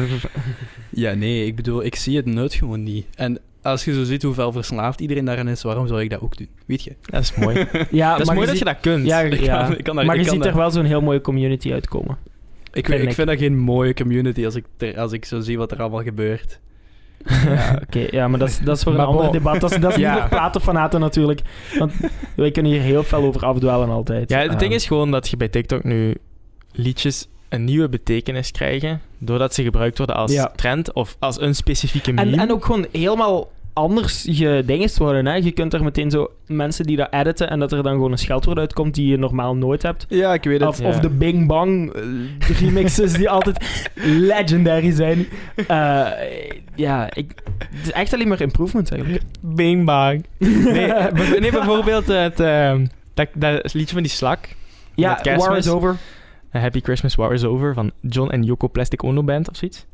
Speaker 3: Ja, nee, ik bedoel, ik zie het nut gewoon niet. En als je zo ziet hoeveel verslaafd iedereen daarin is, waarom zou ik dat ook doen? Weet je?
Speaker 2: Dat is
Speaker 3: *laughs*
Speaker 2: mooi.
Speaker 1: Ja,
Speaker 2: dat is
Speaker 1: maar
Speaker 2: mooi dat je
Speaker 1: ziet-
Speaker 2: dat kunt.
Speaker 1: ja,
Speaker 3: Ik kan-
Speaker 1: ja.
Speaker 3: ik kan daar-
Speaker 1: maar
Speaker 3: ik
Speaker 1: je
Speaker 3: kan
Speaker 1: ziet
Speaker 3: daar-
Speaker 1: er wel zo'n heel mooie community uitkomen.
Speaker 3: Ik,
Speaker 1: Vind
Speaker 3: vind,
Speaker 1: ik.
Speaker 3: ik vind dat geen mooie community als ik, ter- als ik zo zie wat er allemaal gebeurt.
Speaker 2: *laughs*
Speaker 1: Ja, oké. ja, maar dat is, dat is voor een
Speaker 2: Maar
Speaker 1: ander
Speaker 2: bon.
Speaker 1: debat. Dat is, dat is
Speaker 2: Ja.
Speaker 1: niet voor praten fanaten natuurlijk. Want wij kunnen hier heel veel over afdwalen altijd.
Speaker 2: Ja, het
Speaker 1: Ehm,
Speaker 2: ding is gewoon dat je bij TikTok nu liedjes een nieuwe betekenis krijgen, doordat ze gebruikt worden als
Speaker 1: Ja.
Speaker 2: trend of als een specifieke meme.
Speaker 1: En, en ook gewoon helemaal anders gedingest worden. Hè? Je kunt er meteen zo mensen die dat editen en dat er dan gewoon een scheldwoord uitkomt die je normaal nooit hebt.
Speaker 3: Ja, ik weet
Speaker 1: Of,
Speaker 2: ja.
Speaker 1: of de Bing Bang eh, remixes die altijd legendary zijn. Eh, ja, ik, het is echt alleen maar improvements eigenlijk.
Speaker 2: Bing bang. Nee,
Speaker 1: *laughs*
Speaker 2: bijv- nee, bijvoorbeeld het, ehm, dat, dat liedje van die slak.
Speaker 1: Ja,
Speaker 2: Met kerstmis.
Speaker 1: War is Over.
Speaker 2: eh, Happy Christmas War is Over van John en Yoko Plastic Ono Band of zoiets.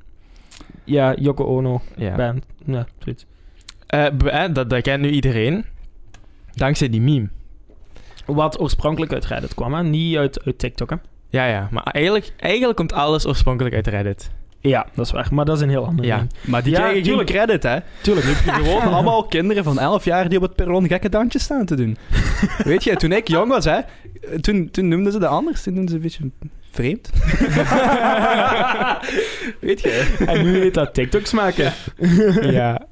Speaker 1: Ja, Yoko Ono
Speaker 2: Ja.
Speaker 1: band. Ja, zoiets.
Speaker 2: Eh, b- eh, dat, dat kent nu iedereen. Dankzij die meme.
Speaker 1: Wat oorspronkelijk uit Reddit kwam, hè? niet uit, uit TikTok. Hè?
Speaker 2: Ja, ja. Maar eigenlijk, eigenlijk komt alles oorspronkelijk uit Reddit.
Speaker 1: Ja, dat is waar. Maar dat is een heel ander
Speaker 2: Ja.
Speaker 1: ding.
Speaker 3: Maar die
Speaker 1: Ja,
Speaker 3: krijgen geen
Speaker 1: tuurlijk.
Speaker 3: credit, hè?
Speaker 1: Tuurlijk.
Speaker 3: Gewoon *laughs* allemaal kinderen van 11 jaar die op het perron gekke dansjes staan te doen. Weet je, toen ik jong was, hè, toen, toen noemden ze dat anders. Toen noemden ze een beetje *laughs* vreemd. Weet je?
Speaker 1: En nu heet dat TikToks maken.
Speaker 2: ja.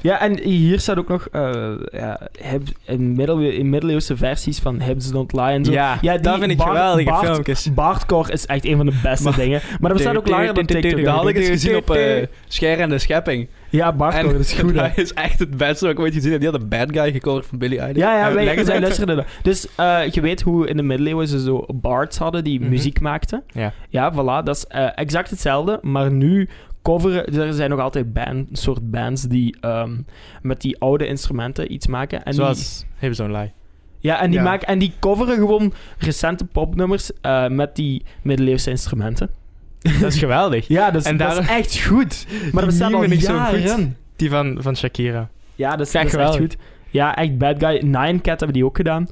Speaker 1: Ja, en hier staat ook nog eh, ja, heb, in, middeleeuw- in middeleeuwse versies van Hibs Don't Lie en zo.
Speaker 2: Ja,
Speaker 1: Ja,
Speaker 2: dat
Speaker 1: die
Speaker 2: vind ik
Speaker 1: baard-
Speaker 2: geweldige
Speaker 1: baard-
Speaker 2: filmpjes.
Speaker 1: Baardcore is echt een van de beste
Speaker 3: Maar-
Speaker 1: dingen. Maar dat bestaat ook langer dan TikTok.
Speaker 3: Dat had ik eens
Speaker 1: hè.
Speaker 3: gezien op eh Scher en de Schepping.
Speaker 1: Ja, baardcore, dat is goed. hè.
Speaker 3: *laughs*
Speaker 2: *laughs*
Speaker 3: dat is echt het beste wat ik ooit gezien heb. Die had een bad guy gecoverd van Billy Eilish. Eh,
Speaker 1: Ja, ja,
Speaker 3: En
Speaker 1: wij,
Speaker 3: lekker
Speaker 1: zij
Speaker 3: zo-
Speaker 1: luisterden dat. Dus eh, je weet hoe in de middeleeuwen ze zo bards hadden die
Speaker 2: Mhm.
Speaker 1: muziek maakten.
Speaker 2: Ja.
Speaker 1: Ja, voilà. Dat is eh, exact hetzelfde, maar nu coveren... Er zijn nog altijd band, soort bands die ehm, met die oude instrumenten iets maken. En die,
Speaker 2: Zoals Hips Don't Lie.
Speaker 1: ja, en die,
Speaker 3: Ja.
Speaker 1: Maken, en die coveren gewoon recente popnummers eh, met die middeleeuwse instrumenten.
Speaker 2: Dat is
Speaker 1: *laughs*
Speaker 2: geweldig.
Speaker 1: Ja, dat is,
Speaker 2: En
Speaker 1: dat
Speaker 2: daarom-
Speaker 1: is echt
Speaker 2: *laughs*
Speaker 1: goed. Maar dat bestaat al
Speaker 2: nieuwe vind ik zo goed.
Speaker 1: jaren.
Speaker 2: Die van, van Shakira.
Speaker 1: Ja, dat is,
Speaker 2: Kijk,
Speaker 1: dat is echt
Speaker 2: geweldig.
Speaker 1: goed. Ja, echt bad guy. Nine Cat hebben die ook gedaan.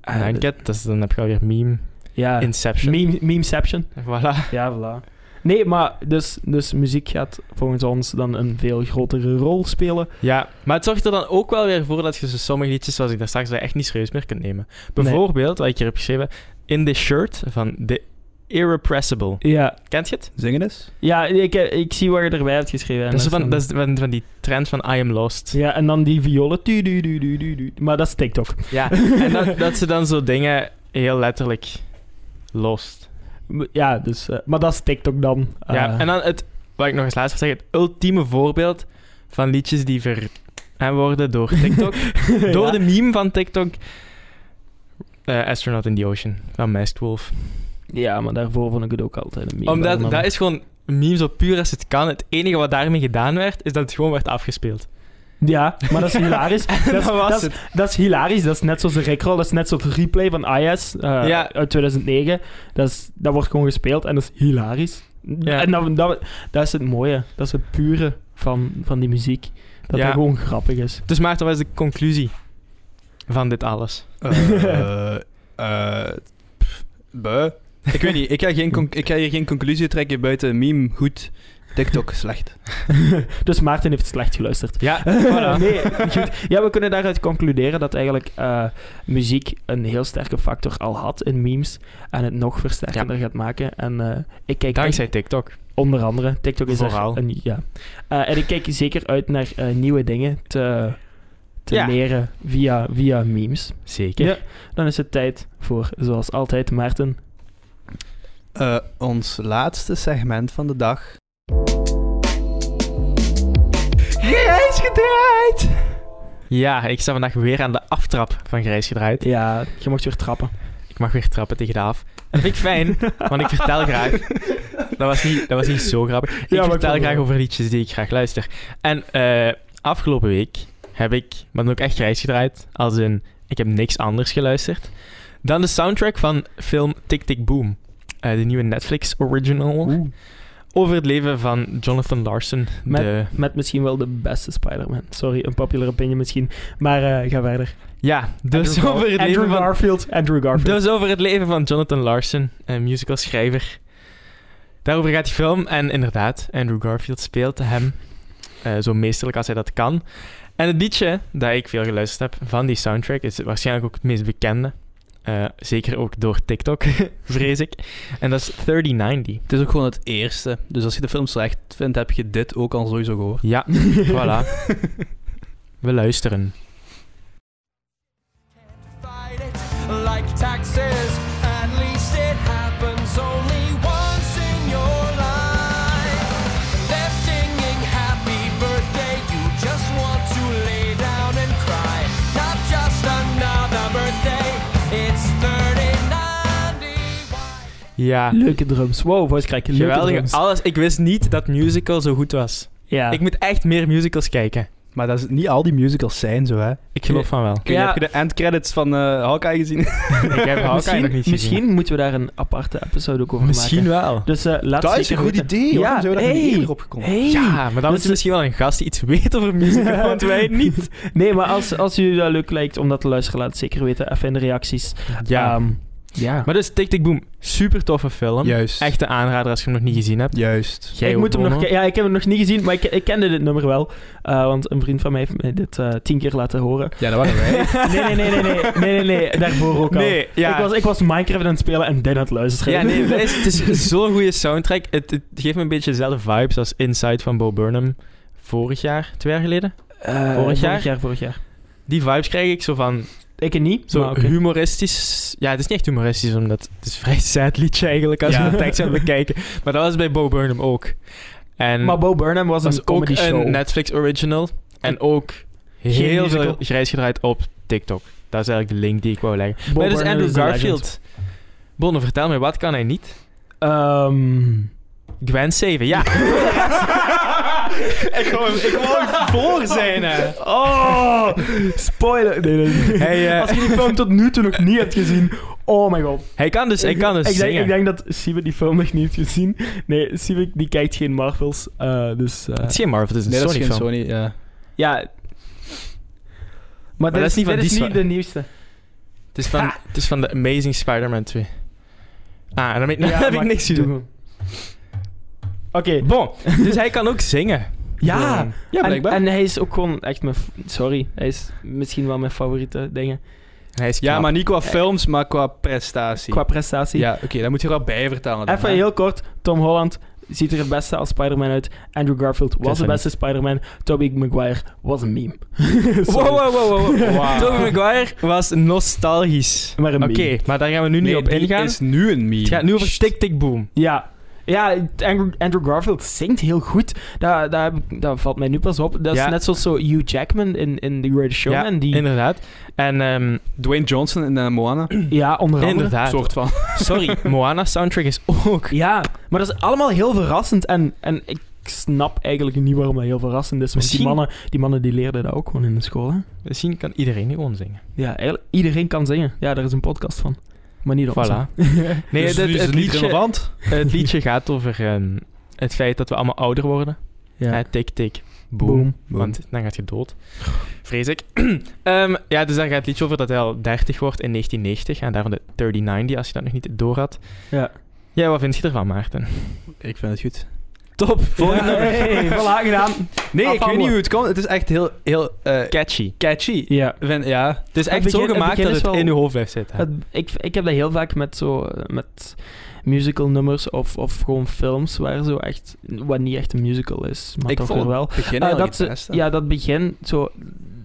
Speaker 1: Eh,
Speaker 2: Nine Cat, dat is, dan heb je alweer meme.
Speaker 1: Ja,
Speaker 2: Inception.
Speaker 1: meme, memeception.
Speaker 2: Voilà.
Speaker 1: Ja, voilà. Nee, maar dus, dus muziek gaat volgens ons dan een veel grotere rol spelen.
Speaker 2: Ja, maar het zorgt er dan ook wel weer voor dat je zo sommige liedjes, zoals ik daar straks zei, echt niet serieus meer kunt nemen. Bijvoorbeeld, wat ik hier heb geschreven, In the Shirt van The Irrepressible.
Speaker 1: Ja,
Speaker 2: Kent je het?
Speaker 3: Zingen dus. eens.
Speaker 1: ja ik, heb- ik zie waar je erbij hebt geschreven. En
Speaker 2: Dat is,
Speaker 1: dan-
Speaker 2: van, dat is van, van die trend van I Am Lost.
Speaker 1: Ja, en dan die violen. Tu, du, du, du, du, du. Maar dat is TikTok.
Speaker 2: Ja, en dat, dat ze dan zo dingen heel letterlijk lost.
Speaker 1: Ja, dus, eh, maar dat is TikTok dan. Eh,
Speaker 2: Ja, en dan het, wat ik nog eens laatst wil zeggen, het ultieme voorbeeld van liedjes die ver en worden door TikTok.
Speaker 1: *laughs*
Speaker 2: door
Speaker 1: ja.
Speaker 2: de meme van TikTok. Eh, Astronaut in the Ocean van Masked Wolf.
Speaker 1: Ja, maar daarvoor vond ik het ook altijd een meme.
Speaker 2: Omdat
Speaker 1: daarvan.
Speaker 2: dat is gewoon een meme zo puur als het kan. Het enige wat daarmee gedaan werd, is dat het gewoon werd afgespeeld.
Speaker 1: Ja, maar
Speaker 2: *laughs*
Speaker 1: dat is hilarisch. *laughs* dat, is-
Speaker 2: dat was
Speaker 1: dat is- dat is hilarisch. Dat is net zoals de Rickroll. Dat is net zoals de replay van IS eh,
Speaker 2: Ja.
Speaker 1: uit 2009. Dat, is, dat wordt gewoon gespeeld en dat is hilarisch.
Speaker 2: Ja.
Speaker 1: En dat, dat, dat is het mooie. Dat is het pure van, van die muziek. Dat
Speaker 2: Ja.
Speaker 1: dat gewoon grappig is.
Speaker 2: Dus Maarten, wat is de conclusie van dit alles?
Speaker 3: Eh, *laughs* eh, pff, buh. Ik weet niet, ik ga, geen conc- ik ga hier geen conclusie trekken buiten meme goed, TikTok slecht.
Speaker 1: dus Maarten heeft slecht geluisterd.
Speaker 2: Ja,
Speaker 1: *laughs* nee, goed. Ja, we kunnen daaruit concluderen dat eigenlijk eh, muziek een heel sterke factor al had in memes. En het nog versterkender gaat maken. En eh, ik kijk echt-
Speaker 2: Dankzij TikTok.
Speaker 1: Onder andere. TikTok is er
Speaker 2: Vooral.
Speaker 1: een... Ja. Eh, en ik kijk zeker uit naar eh, nieuwe dingen te, te
Speaker 2: Ja.
Speaker 1: leren via, via memes.
Speaker 2: Zeker.
Speaker 1: Ja. Dan is het tijd voor, zoals altijd, Maarten.
Speaker 3: Eh, ons laatste segment van de dag.
Speaker 2: Grijs gedraaid! Ja, ik sta vandaag weer aan de aftrap van Grijs gedraaid.
Speaker 1: Ja, je mocht weer trappen.
Speaker 2: Ik mag weer trappen tegen de af. Dat vind ik fijn, want ik vertel graag. Dat was niet, dat was niet zo grappig. Ik
Speaker 1: maar ik
Speaker 2: vertel
Speaker 1: vond het
Speaker 2: graag
Speaker 1: wel.
Speaker 2: over liedjes die ik graag luister. En eh, afgelopen week heb ik, maar dan ook echt grijs gedraaid, als in ik heb niks anders geluisterd, dan de soundtrack van film Tick Tick Boom. Eh, de nieuwe Netflix original over het leven van Jonathan Larson.
Speaker 1: Met-
Speaker 2: de
Speaker 1: Met misschien wel de beste Spider-Man. Sorry, een popular opinion misschien. Maar eh, ga verder.
Speaker 2: Ja, dus
Speaker 1: Andrew, Gar-
Speaker 2: over het leven
Speaker 1: Andrew
Speaker 2: van...
Speaker 1: Garfield. Andrew Garfield.
Speaker 2: Dus over het leven van Jonathan Larson, een musicalschrijver. Daarover gaat die film. En inderdaad, Andrew Garfield speelt hem eh, zo meesterlijk als hij dat kan. En het liedje dat ik veel geluisterd heb van die soundtrack is waarschijnlijk ook het meest bekende. Eh, zeker ook door TikTok, *laughs* vrees ik. En dat is 3090.
Speaker 3: Het is ook gewoon het eerste. Dus als je de film slecht vindt, heb je dit ook al sowieso *laughs* gehoord.
Speaker 2: *laughs* Ja, voilà. We luisteren.
Speaker 4: fight it like taxes. At least it happens only once in your life. They're singing happy birthday. You just want to lay down and cry. Not just another birthday. It's 3091.
Speaker 2: Ja,
Speaker 1: Leuke drums. Wow, voice crack. Leuke
Speaker 2: geweldig.
Speaker 1: drums.
Speaker 2: Alles. Ik wist niet dat musical zo goed was.
Speaker 1: Ja.
Speaker 2: Ik moet echt meer musicals kijken. Eh,
Speaker 3: Maar dat is, niet al die musicals zijn zo, hè.
Speaker 2: Ik geloof van wel.
Speaker 3: Ik weet
Speaker 1: Ja.
Speaker 3: niet, Heb je de endcredits van eh Hawkeye gezien?
Speaker 2: Ik heb Hawkeye
Speaker 1: misschien,
Speaker 2: nog niet gezien.
Speaker 1: misschien moeten we daar een aparte episode ook over
Speaker 2: Misschien
Speaker 1: maken.
Speaker 2: wel.
Speaker 1: Dus eh laat
Speaker 3: Dat is
Speaker 1: zeker
Speaker 3: een goed
Speaker 1: weten.
Speaker 3: idee, hoor.
Speaker 1: Ja,
Speaker 3: Zo dat je
Speaker 1: hey.
Speaker 3: eerder opgekomen.
Speaker 1: Hey.
Speaker 2: Ja, maar dan
Speaker 1: Dus
Speaker 2: is er misschien wel een gast die iets weet over *laughs* muziek, want wij niet.
Speaker 1: Nee, maar als, als jullie dat leuk lijkt om dat te luisteren, laat het zeker weten. Even in de reacties.
Speaker 2: Ja.
Speaker 1: Ehm, ja.
Speaker 2: maar dus Tick Tick Boom, super toffe film.
Speaker 3: Juist.
Speaker 2: Echte aanrader als je hem nog niet gezien hebt.
Speaker 3: Juist.
Speaker 2: Jij
Speaker 1: ik,
Speaker 2: ook,
Speaker 1: moet hem nog,
Speaker 2: Bono.
Speaker 1: ke- ja, ik heb hem nog niet gezien, maar ik, ik kende dit nummer wel. Eh, want een vriend van mij heeft mij dit eh, tien keer laten
Speaker 2: *laughs*
Speaker 1: horen.
Speaker 3: Ja, dat waren wij. *laughs*
Speaker 1: Nee, nee, nee, nee, nee, nee, nee, nee, daarvoor ook al.
Speaker 2: Nee, ja.
Speaker 1: Ik, was, ik was Minecraft aan het spelen en dit aan het luisteren.
Speaker 2: ja, nee, het is, het is zo'n goede soundtrack. Het, het geeft me een beetje dezelfde vibes als Inside van Bo Burnham. vorig jaar, twee jaar geleden.
Speaker 1: *laughs* Eh,
Speaker 2: Vorig jaar?
Speaker 1: Vorig jaar, vorig jaar.
Speaker 2: Die vibes krijg ik zo van
Speaker 1: Ik niet,
Speaker 2: zo
Speaker 1: maar oké.
Speaker 2: humoristisch. Ja, het is niet echt humoristisch, omdat het is een vrij *laughs* sad liedje eigenlijk als
Speaker 1: Ja.
Speaker 2: we de tekst gaan bekijken. Maar dat was bij Bo Burnham ook. En
Speaker 1: Maar Bo Burnham was,
Speaker 2: was
Speaker 1: een
Speaker 2: ook
Speaker 1: comedy
Speaker 2: een
Speaker 1: show.
Speaker 2: Netflix original. En ook heel veel
Speaker 1: musical.
Speaker 2: grijs gedraaid op TikTok. Dat is eigenlijk de link die ik wou leggen.
Speaker 1: Bo
Speaker 2: maar dit is
Speaker 1: Burnham
Speaker 2: Andrew
Speaker 1: een
Speaker 2: Garfield. Bonne, vertel mij, wat kan hij niet?
Speaker 1: legend. Ehm,
Speaker 2: Gwen Saven, ja. ik wou ik wou hem voor zijn, hè.
Speaker 1: Oh, spoiler. Nee, nee.
Speaker 2: Hey, eh.
Speaker 1: Als je die film tot nu toe nog niet hebt gezien, oh my god.
Speaker 2: Hij kan dus, hij kan dus
Speaker 1: ik, denk,
Speaker 2: zingen.
Speaker 1: ik denk dat Sibbe die film nog niet heeft gezien. Nee, Sibbe die kijkt geen Marvels, eh, dus... eh,
Speaker 2: Het is geen Marvel, het is een
Speaker 3: Nee, dat is geen
Speaker 2: Sony-film.
Speaker 3: Sony, ja.
Speaker 1: ja. Maar, dit
Speaker 2: dat is niet van
Speaker 1: dit
Speaker 2: die
Speaker 1: is
Speaker 2: soort-
Speaker 1: niet de
Speaker 2: *laughs*
Speaker 1: nieuwste.
Speaker 2: Het is van, het is van de Amazing Spider-Man 2. Ah, daarmee
Speaker 1: Ja,
Speaker 2: heb ik
Speaker 1: maar
Speaker 2: niks te
Speaker 1: doe
Speaker 2: doen.
Speaker 1: gewoon. Oké.
Speaker 2: Bon, dus hij kan ook zingen.
Speaker 1: Ja,
Speaker 2: Gewoon.
Speaker 3: Ja,
Speaker 1: en,
Speaker 3: blijkbaar.
Speaker 1: en hij is ook gewoon echt mijn... f- Sorry, hij is misschien wel mijn favoriete dingen.
Speaker 2: Hij is
Speaker 3: ja,
Speaker 2: knap.
Speaker 3: maar niet qua films, maar qua prestatie.
Speaker 1: Qua prestatie.
Speaker 3: Ja, oké, dat moet je er wel bij vertalen. dan,
Speaker 1: Even
Speaker 3: hè.
Speaker 1: heel kort. Tom Holland ziet er het beste als Spider-Man uit. Andrew Garfield was
Speaker 2: is
Speaker 1: de
Speaker 2: dat
Speaker 1: beste Spider-Man. Tobey Maguire was een meme. *laughs* Sorry.
Speaker 2: Wow, wow, wow, wow. wow.
Speaker 3: Wauw.
Speaker 2: Tobey Maguire was nostalgisch.
Speaker 1: Maar een
Speaker 2: Oké,
Speaker 1: meme.
Speaker 2: maar daar gaan we nu niet
Speaker 3: Nee,
Speaker 2: op
Speaker 3: die
Speaker 2: ingaan.
Speaker 3: is nu een meme.
Speaker 2: Het gaat nu over Tick Tick Boom.
Speaker 1: Ja. Ja, Andrew, Andrew Garfield zingt heel goed. Dat, dat, heb ik- dat valt mij nu pas op. Dat is
Speaker 2: Ja.
Speaker 1: net zoals zo Hugh Jackman in, in The Greatest Showman.
Speaker 2: ja,
Speaker 1: die,
Speaker 2: inderdaad. En ehm,
Speaker 3: Dwayne Johnson en eh, Moana.
Speaker 1: ja, onder andere.
Speaker 2: inderdaad.
Speaker 3: soort *laughs* van.
Speaker 2: *laughs* Sorry, Moana soundtrack is ook...
Speaker 1: Ja, maar dat is allemaal heel verrassend. En, en ik snap eigenlijk niet waarom dat heel verrassend is. Want
Speaker 2: Misschien-
Speaker 1: die, mannen, die mannen die leerden dat ook gewoon in de school. Hè?
Speaker 2: Misschien kan iedereen die gewoon zingen.
Speaker 1: Ja, eigenlijk, iedereen kan zingen. Ja, daar is een podcast van. Maar niet op
Speaker 2: Voilà. Nee,
Speaker 3: Dus
Speaker 2: dit-
Speaker 3: nu is
Speaker 2: het,
Speaker 3: het niet
Speaker 2: liedje,
Speaker 3: relevant.
Speaker 1: *laughs*
Speaker 2: het liedje gaat over ehm, het feit dat we allemaal ouder worden.
Speaker 1: Ja.
Speaker 2: Hè, tik, tik, boom.
Speaker 1: Boom.
Speaker 2: Want dan gaat je dood. Vrees ik. *clears throat* Ehm, ja, dus daar gaat het liedje over dat hij al 30 wordt in 1990. En daarvan de 3090, als je dat nog niet door had.
Speaker 1: Ja.
Speaker 2: Ja, wat vind je ervan, Maarten?
Speaker 3: Ik vind het goed.
Speaker 2: Top.
Speaker 3: *laughs*
Speaker 2: Volgende.
Speaker 1: Hey, voilà, gedaan.
Speaker 3: Nee, ik weet
Speaker 1: Afhandelen.
Speaker 3: niet hoe het kan. Het is echt heel, heel eh,
Speaker 2: Catchy.
Speaker 3: catchy.
Speaker 1: Ja.
Speaker 3: Ik vind- ja.
Speaker 2: Het is echt
Speaker 1: begin-
Speaker 2: zo
Speaker 1: het
Speaker 2: gemaakt
Speaker 1: begin
Speaker 2: dat
Speaker 1: is
Speaker 2: het
Speaker 1: wel-
Speaker 2: in je hoofd blijft zitten.
Speaker 1: Het, ik, ik heb dat heel vaak met zo eh, met musical nummers of, of gewoon films waar zo echt wat niet echt een musical is, maar
Speaker 3: ik
Speaker 1: toch
Speaker 3: vond
Speaker 1: weer
Speaker 3: het
Speaker 1: wel.
Speaker 3: begin
Speaker 1: Eh,
Speaker 3: eigenlijk
Speaker 1: dat
Speaker 3: het
Speaker 1: ze-
Speaker 3: beste.
Speaker 1: ja, dat begin zo.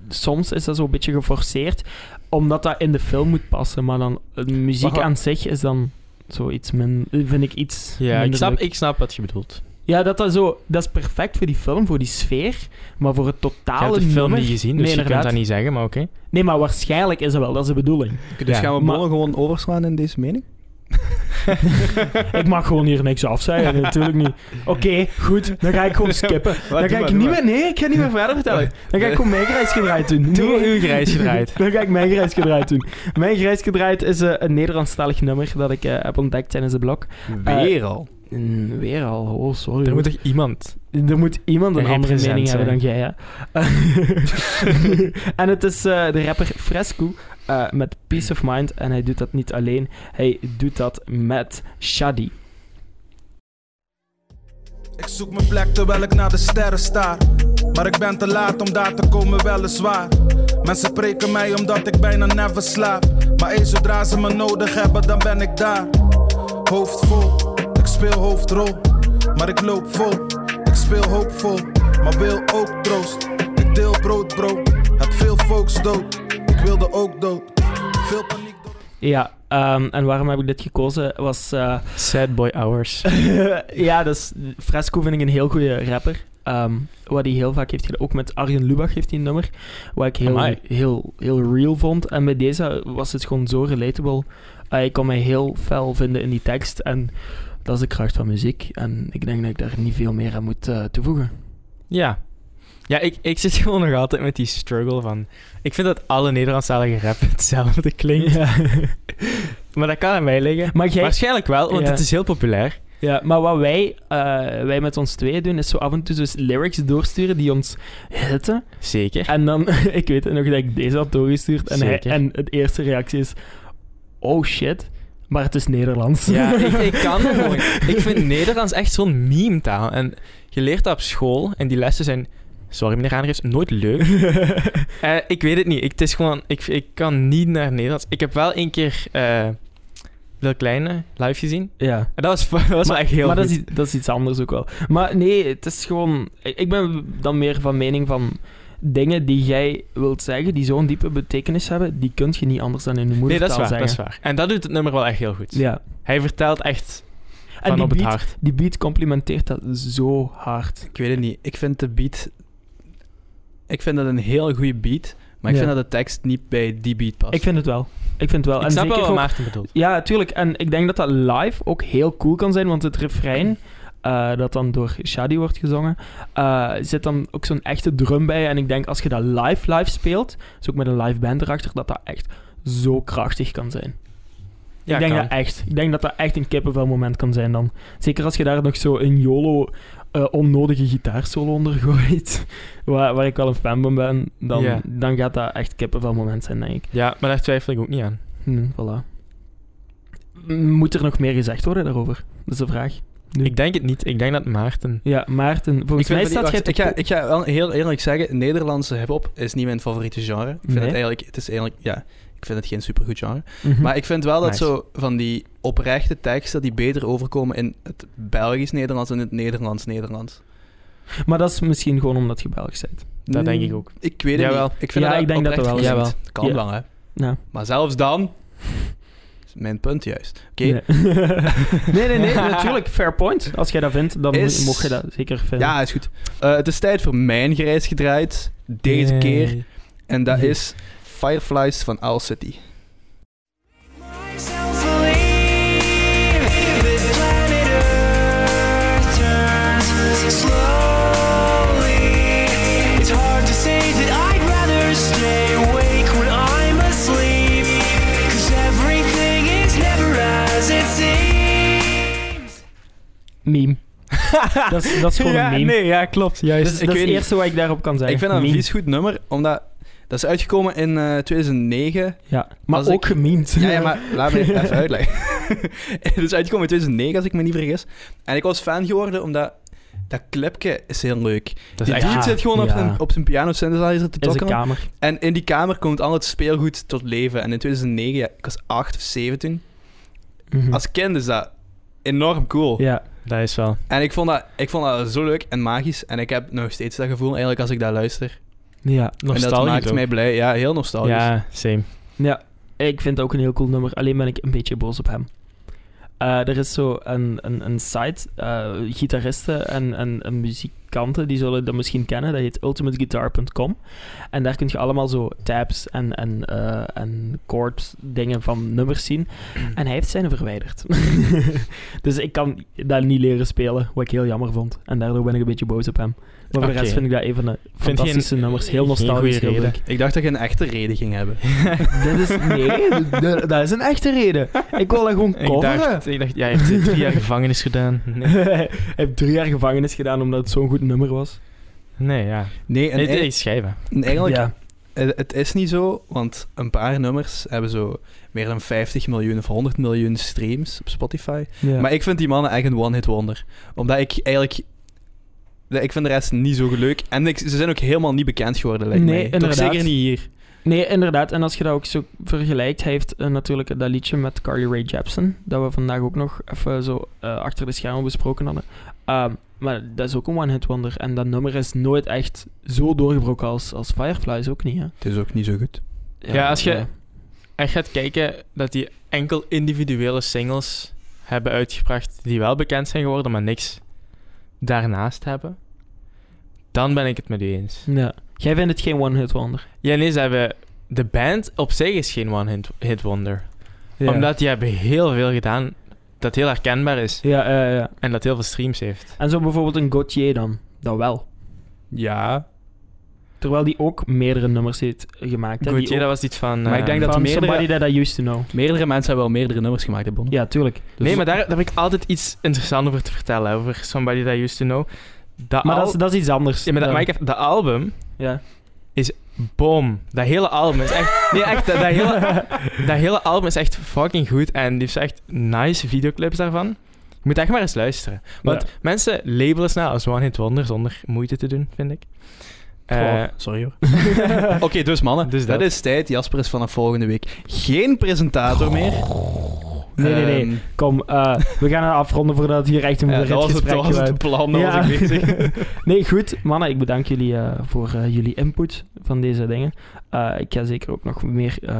Speaker 1: Soms is dat zo'n beetje geforceerd, omdat dat in de film moet passen. Maar dan eh, muziek
Speaker 3: Maar-
Speaker 1: aan zich is dan zoiets min, eh, vind ik iets.
Speaker 2: Ja, ik
Speaker 1: minder
Speaker 2: snap,
Speaker 1: leuk.
Speaker 2: ik snap wat je bedoelt.
Speaker 1: Ja, dat, dat, zo, dat is perfect voor die film, voor die sfeer. Maar voor het
Speaker 2: Je hebt
Speaker 1: totale
Speaker 2: de film
Speaker 1: nummer-
Speaker 2: niet gezien,
Speaker 1: Nee,
Speaker 2: dus je kunt
Speaker 1: inderdaad.
Speaker 2: dat niet zeggen, maar oké.
Speaker 1: Nee, maar waarschijnlijk is dat wel, dat is de
Speaker 2: *laughs*
Speaker 1: bedoeling.
Speaker 3: Dus
Speaker 2: Ja.
Speaker 3: gaan we
Speaker 1: Maar-
Speaker 3: Bono gewoon overslaan in deze mening? *laughs*
Speaker 1: ik mag gewoon hier niks
Speaker 3: *laughs*
Speaker 2: *laughs*
Speaker 1: afzeggen, natuurlijk niet. Oké, goed, dan ga ik gewoon skippen. Dan ga ik niet meer, nee, ik ga niet meer verder
Speaker 2: *laughs*
Speaker 1: vertellen. Dan ga ik gewoon mijn grijsgedraaid doen.
Speaker 2: Doe
Speaker 1: Nee.
Speaker 2: uw grijsje
Speaker 1: *laughs*
Speaker 2: eruit. *laughs*
Speaker 1: Dan ga ik mijn grijsgedraaid doen. Mijn grijsgedraaid is eh, een Nederlandstalig nummer dat ik eh, heb ontdekt tijdens de blog.
Speaker 3: Weer al.
Speaker 1: Mm, weer al, oh sorry.
Speaker 2: Er moet toch iemand...
Speaker 1: Er moet iemand een
Speaker 2: Een
Speaker 1: andere
Speaker 2: represent
Speaker 1: mening hebben dan
Speaker 2: zijn.
Speaker 1: jij, hè? *laughs* en het is eh, de rapper Fresco eh, met Peace of Mind. En hij doet dat niet alleen. Hij doet dat met Shadi.
Speaker 5: Ik zoek mijn plek terwijl ik naar de sterren staar. Maar ik ben te laat om daar te komen, weliswaar. Mensen preken mij omdat ik bijna never slaap. Maar eens zodra ze me nodig hebben, dan ben ik daar. Hoofd vol, ik speel hoofdrol. Maar ik loop vol, ik speel hoopvol. Maar wil ook troost, ik deel brood, bro. Heb veel folks dood, ik wilde ook dood. Veel paniek. door-
Speaker 1: Ja, ehm, en waarom heb ik dit gekozen? Was, eh,
Speaker 2: Sad boy hours.
Speaker 1: *laughs* ja, dus Fresco vind ik een heel goede rapper. Ehm, wat hij heel vaak heeft gedaan. Ook met Arjen Lubach heeft hij een nummer. Wat ik heel,
Speaker 2: Amai.
Speaker 1: heel, heel real vond. En bij deze was het gewoon zo relatable. Eh, ik kon mij heel fel vinden in die tekst. En dat is de kracht van muziek. En ik denk dat ik daar niet veel meer aan moet eh, toevoegen.
Speaker 2: *laughs* Ja. Ja, ik, ik zit gewoon nog altijd met die struggle van... Ik vind dat alle Nederlandstalige rap *laughs* hetzelfde klinkt. *laughs* maar dat kan aan mij liggen.
Speaker 1: Maar jij...
Speaker 2: Waarschijnlijk wel, want
Speaker 1: Ja.
Speaker 2: het is heel populair.
Speaker 1: Ja, maar wat wij, eh, wij met ons tweeën doen, is zo af en toe dus lyrics doorsturen die ons hitten.
Speaker 2: *laughs* Zeker.
Speaker 1: En dan, *laughs* ik weet nog dat ik deze had doorgestuurd. En, hij,
Speaker 2: Zeker.
Speaker 1: en het eerste reactie is: oh shit, maar het is Nederlands.
Speaker 2: Ja, ik,
Speaker 1: *laughs*
Speaker 2: ik kan dat gewoon. Ik vind Nederlands echt zo'n meme-taal. En je leert dat op school en die lessen zijn... Sorry, meneer Aanreefs, nooit *laughs* leuk. Eh, ik weet het niet. Ik, het is gewoon, ik, ik kan niet naar Nederlands. Ik heb wel een keer eh, Lil Kleine live gezien.
Speaker 1: Ja.
Speaker 2: En dat was, *laughs* dat was wel echt heel
Speaker 1: maar
Speaker 2: goed.
Speaker 1: dat is, i- dat is iets anders ook wel. Maar nee, het is gewoon... Ik ik ben dan meer van mening van... Dingen die jij wilt zeggen, die zo'n diepe betekenis hebben, die kun je niet anders dan in je
Speaker 2: nee,
Speaker 1: moedertaal
Speaker 2: dat is, waar, dat is
Speaker 1: zeggen.
Speaker 2: waar. En dat doet het nummer wel echt heel goed.
Speaker 1: Ja.
Speaker 2: Hij vertelt echt
Speaker 1: En
Speaker 2: van
Speaker 1: die
Speaker 2: op het
Speaker 1: beat,
Speaker 2: hart.
Speaker 1: die beat complimenteert dat zo hard.
Speaker 3: Ik weet het niet. Ik vind de beat... Ik vind dat een heel goede beat, maar ik
Speaker 1: Ja.
Speaker 3: vind dat de tekst niet bij die beat past.
Speaker 1: Ik vind het wel. Ik vind het wel.
Speaker 2: Ik snap wel
Speaker 1: zeker
Speaker 2: wat
Speaker 1: ook-
Speaker 2: Maarten bedoelt.
Speaker 1: Ja, tuurlijk. En ik denk dat dat live ook heel cool kan zijn, want het refrein, eh, dat dan door Shadi wordt gezongen, eh, zit dan ook zo'n echte drum bij. En ik denk als je dat live live speelt, dus ook met een live band erachter, dat dat echt zo krachtig kan zijn.
Speaker 2: Ja,
Speaker 1: ik denk
Speaker 2: kan.
Speaker 1: dat echt. Ik denk dat dat echt een kippenvel moment kan zijn dan. Zeker als je daar nog zo een YOLO eh, onnodige gitaarsolo onder gooit, *laughs* waar, waar ik wel een fan van ben, dan,
Speaker 2: Ja.
Speaker 1: dan gaat dat echt kippenvel moment zijn, denk ik.
Speaker 2: Ja, maar daar twijfel ik ook niet aan.
Speaker 3: Hmm.
Speaker 1: Hm, voilà. Moet er nog meer gezegd worden daarover? Dat is de vraag. Nu.
Speaker 2: Ik denk het niet. Ik denk dat Maarten...
Speaker 1: Ja, Maarten, volgens
Speaker 3: Ik
Speaker 1: mij
Speaker 3: vind
Speaker 1: staat jij
Speaker 3: van die-
Speaker 1: te
Speaker 3: wacht, ik, ga,
Speaker 1: po-
Speaker 3: ik ga wel heel eerlijk zeggen, Nederlandse hip-hop is niet mijn favoriete genre. Ik vind
Speaker 1: Nee?
Speaker 3: het eigenlijk, het is eigenlijk, ja, ik vind het geen supergoed genre.
Speaker 1: Mhm.
Speaker 3: Maar ik vind wel dat
Speaker 2: Nice.
Speaker 3: zo van die oprechte teksten die beter overkomen in het Belgisch-Nederlands en in het Nederlands-Nederlands.
Speaker 1: Maar dat is misschien gewoon omdat je Belgisch bent.
Speaker 2: Dat
Speaker 3: Nee.
Speaker 2: denk ik ook.
Speaker 3: Mm, Ik weet het
Speaker 2: Jawel.
Speaker 3: niet. Ik vind
Speaker 1: Ja,
Speaker 3: dat
Speaker 1: ik denk dat
Speaker 3: oprecht
Speaker 1: er wel-
Speaker 3: gezien.
Speaker 2: jawel.
Speaker 3: Kan
Speaker 1: Ja.
Speaker 3: wel, hè.
Speaker 1: Ja.
Speaker 3: Maar zelfs
Speaker 1: *laughs*
Speaker 3: dan... is Mijn punt juist. Oké.
Speaker 1: Nee. *laughs* nee,
Speaker 3: *laughs*
Speaker 1: nee, nee, natuurlijk. Fair point. Als jij dat vindt, dan
Speaker 3: Is-
Speaker 1: mocht je dat zeker vinden.
Speaker 3: Ja, is goed. Eh, het is tijd voor mijn grijs gedraaid. Deze
Speaker 2: Nee.
Speaker 3: keer. En dat
Speaker 1: Nee.
Speaker 3: is Fireflies van Owl City.
Speaker 4: Myself believe that planet Earth turns slowly. It's hard to say that I'd rather stay awake when I'm asleep. 'Cause everything is never as it seems.
Speaker 3: *laughs*
Speaker 1: Meme. dat, is, dat is gewoon
Speaker 2: ja,
Speaker 1: een meme.
Speaker 2: nee, ja, klopt. Juist.
Speaker 1: Dus
Speaker 3: ik
Speaker 1: dat is
Speaker 3: weet
Speaker 1: het
Speaker 3: niet.
Speaker 1: eerste wat ik daarop kan zeggen.
Speaker 3: Ik vind dat een
Speaker 1: Meme.
Speaker 3: vies goed nummer, omdat... Dat is uitgekomen in eh, 2009.
Speaker 1: Ja. Maar
Speaker 3: Als ik-
Speaker 1: ook gememd.
Speaker 3: Ja,
Speaker 1: *laughs*
Speaker 3: ja, maar laat me even uitleggen. *laughs* het is uitgekomen in 2009, als ik me niet vergis. En ik was fan geworden, omdat... Dat clipje is heel leuk.
Speaker 2: Dat
Speaker 3: die
Speaker 2: is echt...
Speaker 1: echt-
Speaker 3: dude
Speaker 1: Ja,
Speaker 3: zit gewoon op,
Speaker 1: ja.
Speaker 3: zijn, op zijn piano synthesizer te
Speaker 1: In zijn
Speaker 3: tokkelen.
Speaker 1: kamer.
Speaker 3: En in die kamer komt al het speelgoed tot leven. En in 2009, ja, ik was 8 of 17.
Speaker 1: Mhm.
Speaker 3: Als kind is dat enorm cool.
Speaker 1: Ja.
Speaker 2: Dat is wel...
Speaker 3: En ik vond, dat, ik vond dat zo leuk en magisch. En ik heb nog steeds dat gevoel eigenlijk als ik dat luister.
Speaker 1: Ja.
Speaker 3: en dat maakt
Speaker 2: Nostalgisch ook.
Speaker 3: mij blij. Ja, heel nostalgisch.
Speaker 2: Ja, same.
Speaker 1: Ja, ik vind het ook een heel cool nummer. Alleen ben ik een beetje boos op hem. Eh, er is zo een, een, een site, eh, gitaristen en, en, en muzikanten, die zullen dat misschien kennen. Dat heet ultimateguitar.com. En daar kun je allemaal zo tabs en, en, eh en chord dingen van nummers
Speaker 2: *clears throat*
Speaker 1: zien. En hij heeft zijn verwijderd. *laughs* dus ik kan dat niet leren spelen, wat ik heel jammer vond. En daardoor ben ik een beetje boos op hem. Maar voor de
Speaker 2: Oké.
Speaker 1: rest vind ik dat een van de
Speaker 2: geen-
Speaker 1: fantastische nummers. Heel
Speaker 2: geen
Speaker 1: nostalgisch,
Speaker 2: goede
Speaker 1: heel
Speaker 2: reden.
Speaker 1: leuk.
Speaker 3: Ik dacht dat je een echte reden ging
Speaker 1: *laughs*
Speaker 3: hebben.
Speaker 1: *laughs* Dat is, nee, d- d- dat is een echte reden. Ik wil dat gewoon
Speaker 2: Ik
Speaker 1: coveren.
Speaker 2: dacht, ik dacht, ja, je hebt drie *laughs* jaar gevangenis gedaan. Nee,
Speaker 1: *laughs* Hij heeft drie jaar gevangenis gedaan omdat het zo'n goed nummer was.
Speaker 2: nee ja.
Speaker 3: Nee, en,
Speaker 2: En,
Speaker 3: e-
Speaker 2: nee, schrijven.
Speaker 3: en eigenlijk,
Speaker 1: ja.
Speaker 3: het, het is niet zo, want een paar nummers hebben zo meer dan 50 miljoen of 100 miljoen streams op Spotify.
Speaker 1: ja.
Speaker 3: Maar ik vind die mannen echt een one-hit wonder. Omdat ik eigenlijk... dat- Ik vind de rest niet zo leuk. En ik, ze zijn ook helemaal niet bekend geworden, lijkt
Speaker 1: Nee,
Speaker 3: mij.
Speaker 1: inderdaad.
Speaker 3: Toch zeker niet hier.
Speaker 1: Nee, inderdaad. En als je dat ook zo vergelijkt, hij heeft eh, natuurlijk dat liedje met Carly Rae Jepsen, dat we vandaag ook nog even zo eh, achter de schermen besproken hadden. Ehm, maar dat is ook een one-hit wonder. En dat nummer is nooit echt zo doorgebroken als, als Fireflies ook niet, hè?
Speaker 3: Het is ook niet zo goed.
Speaker 2: Ja, als je-
Speaker 1: ja.
Speaker 2: En gaat kijken dat die enkel individuele singles hebben uitgebracht die wel bekend zijn geworden, maar niks daarnaast hebben. Dan ben ik het met u eens.
Speaker 1: Ja. Jij vindt het geen one-hit wonder.
Speaker 2: Ja, nee, ze hebben... De band op zich is geen one-hit wonder. Omdat die hebben heel veel gedaan dat heel herkenbaar is.
Speaker 1: Ja, ja, ja.
Speaker 2: En dat heel veel streams heeft.
Speaker 1: En zo bijvoorbeeld een Gauthier dan. Dat wel.
Speaker 3: Ja.
Speaker 1: Terwijl die ook meerdere nummers heeft gemaakt. hè, die
Speaker 2: Goed, ja,
Speaker 1: ook-
Speaker 2: dat was iets van...
Speaker 3: Maar ik
Speaker 2: eh,
Speaker 3: denk dat
Speaker 1: van
Speaker 3: meerdere-
Speaker 1: Somebody That I Used To Know.
Speaker 3: Meerdere mensen hebben wel meerdere nummers gemaakt, hè, Bonne?
Speaker 1: Ja, Dus- tuurlijk.
Speaker 2: nee, maar daar, daar heb ik altijd iets interessants over te vertellen. hè, Over Somebody That I Used To Know. Dat
Speaker 3: Ah,
Speaker 1: Maar
Speaker 2: al-
Speaker 1: dat is, dat is iets anders.
Speaker 2: ja, maar dat,
Speaker 1: Dan-
Speaker 2: maar ik heb- dat album,
Speaker 3: *laughs*
Speaker 1: ja.
Speaker 2: boom. Dat hele album is echt... Nee, echt, dat, dat, hele, dat hele album is echt fucking goed. En die heeft echt nice videoclips daarvan. Je moet echt maar eens luisteren. Want
Speaker 1: Ja.
Speaker 2: mensen labelen snel als One Hit Wonder zonder moeite te doen, vind ik. Eh,
Speaker 3: Goh, sorry hoor. Oké, dus mannen,
Speaker 2: Dus
Speaker 3: dat.
Speaker 2: dat.
Speaker 3: is tijd. Jasper is vanaf volgende week geen presentator meer.
Speaker 1: Nee, nee, nee.
Speaker 3: Ehm,
Speaker 1: Kom, eh, we gaan het afronden voordat het hier echt een
Speaker 3: ja, dat
Speaker 1: rit
Speaker 3: was het, dat was het plan, dat was ik bezig.
Speaker 1: nee, goed. Mannen, ik bedank jullie eh, voor eh, jullie input van deze dingen. Eh, ik ga zeker ook nog meer eh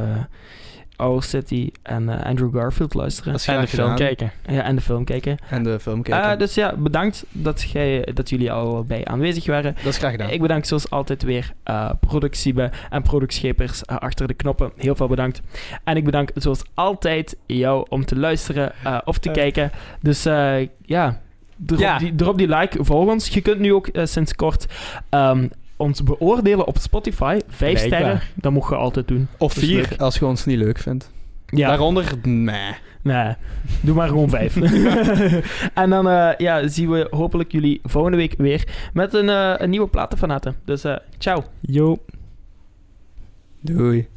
Speaker 1: Our City en eh, Andrew Garfield luisteren.
Speaker 3: Dat is
Speaker 2: En de
Speaker 3: graag
Speaker 2: film
Speaker 3: gedaan.
Speaker 2: kijken.
Speaker 1: Ja, en de film kijken.
Speaker 3: En de film kijken.
Speaker 1: Eh, dus ja, bedankt dat, jij, dat jullie allebei aanwezig waren.
Speaker 3: dat is graag gedaan.
Speaker 1: Ik bedank zoals altijd weer eh productiebe en productschepers eh, achter de knoppen. Heel veel bedankt. En ik bedank zoals altijd jou om te luisteren eh, of te
Speaker 3: Eh.
Speaker 1: kijken. Dus eh, ja, drop,
Speaker 2: Ja.
Speaker 1: Die, drop die like, volg ons. Je kunt nu ook eh, sinds kort ehm, ons beoordelen op Spotify. Vijf
Speaker 2: Blijkbaar.
Speaker 1: sterren, dat mocht je altijd doen.
Speaker 3: of
Speaker 1: dat is
Speaker 3: vier,
Speaker 1: leuk.
Speaker 3: als je ons niet leuk vindt.
Speaker 1: Ja,
Speaker 3: Daaronder, nee.
Speaker 1: nee, doe maar gewoon
Speaker 2: *laughs*
Speaker 1: vijf. *laughs* en dan eh, ja, zien we hopelijk jullie volgende week weer met een, eh, een nieuwe platenfanaten. Dus eh, ciao.
Speaker 2: Yo.
Speaker 3: Doei.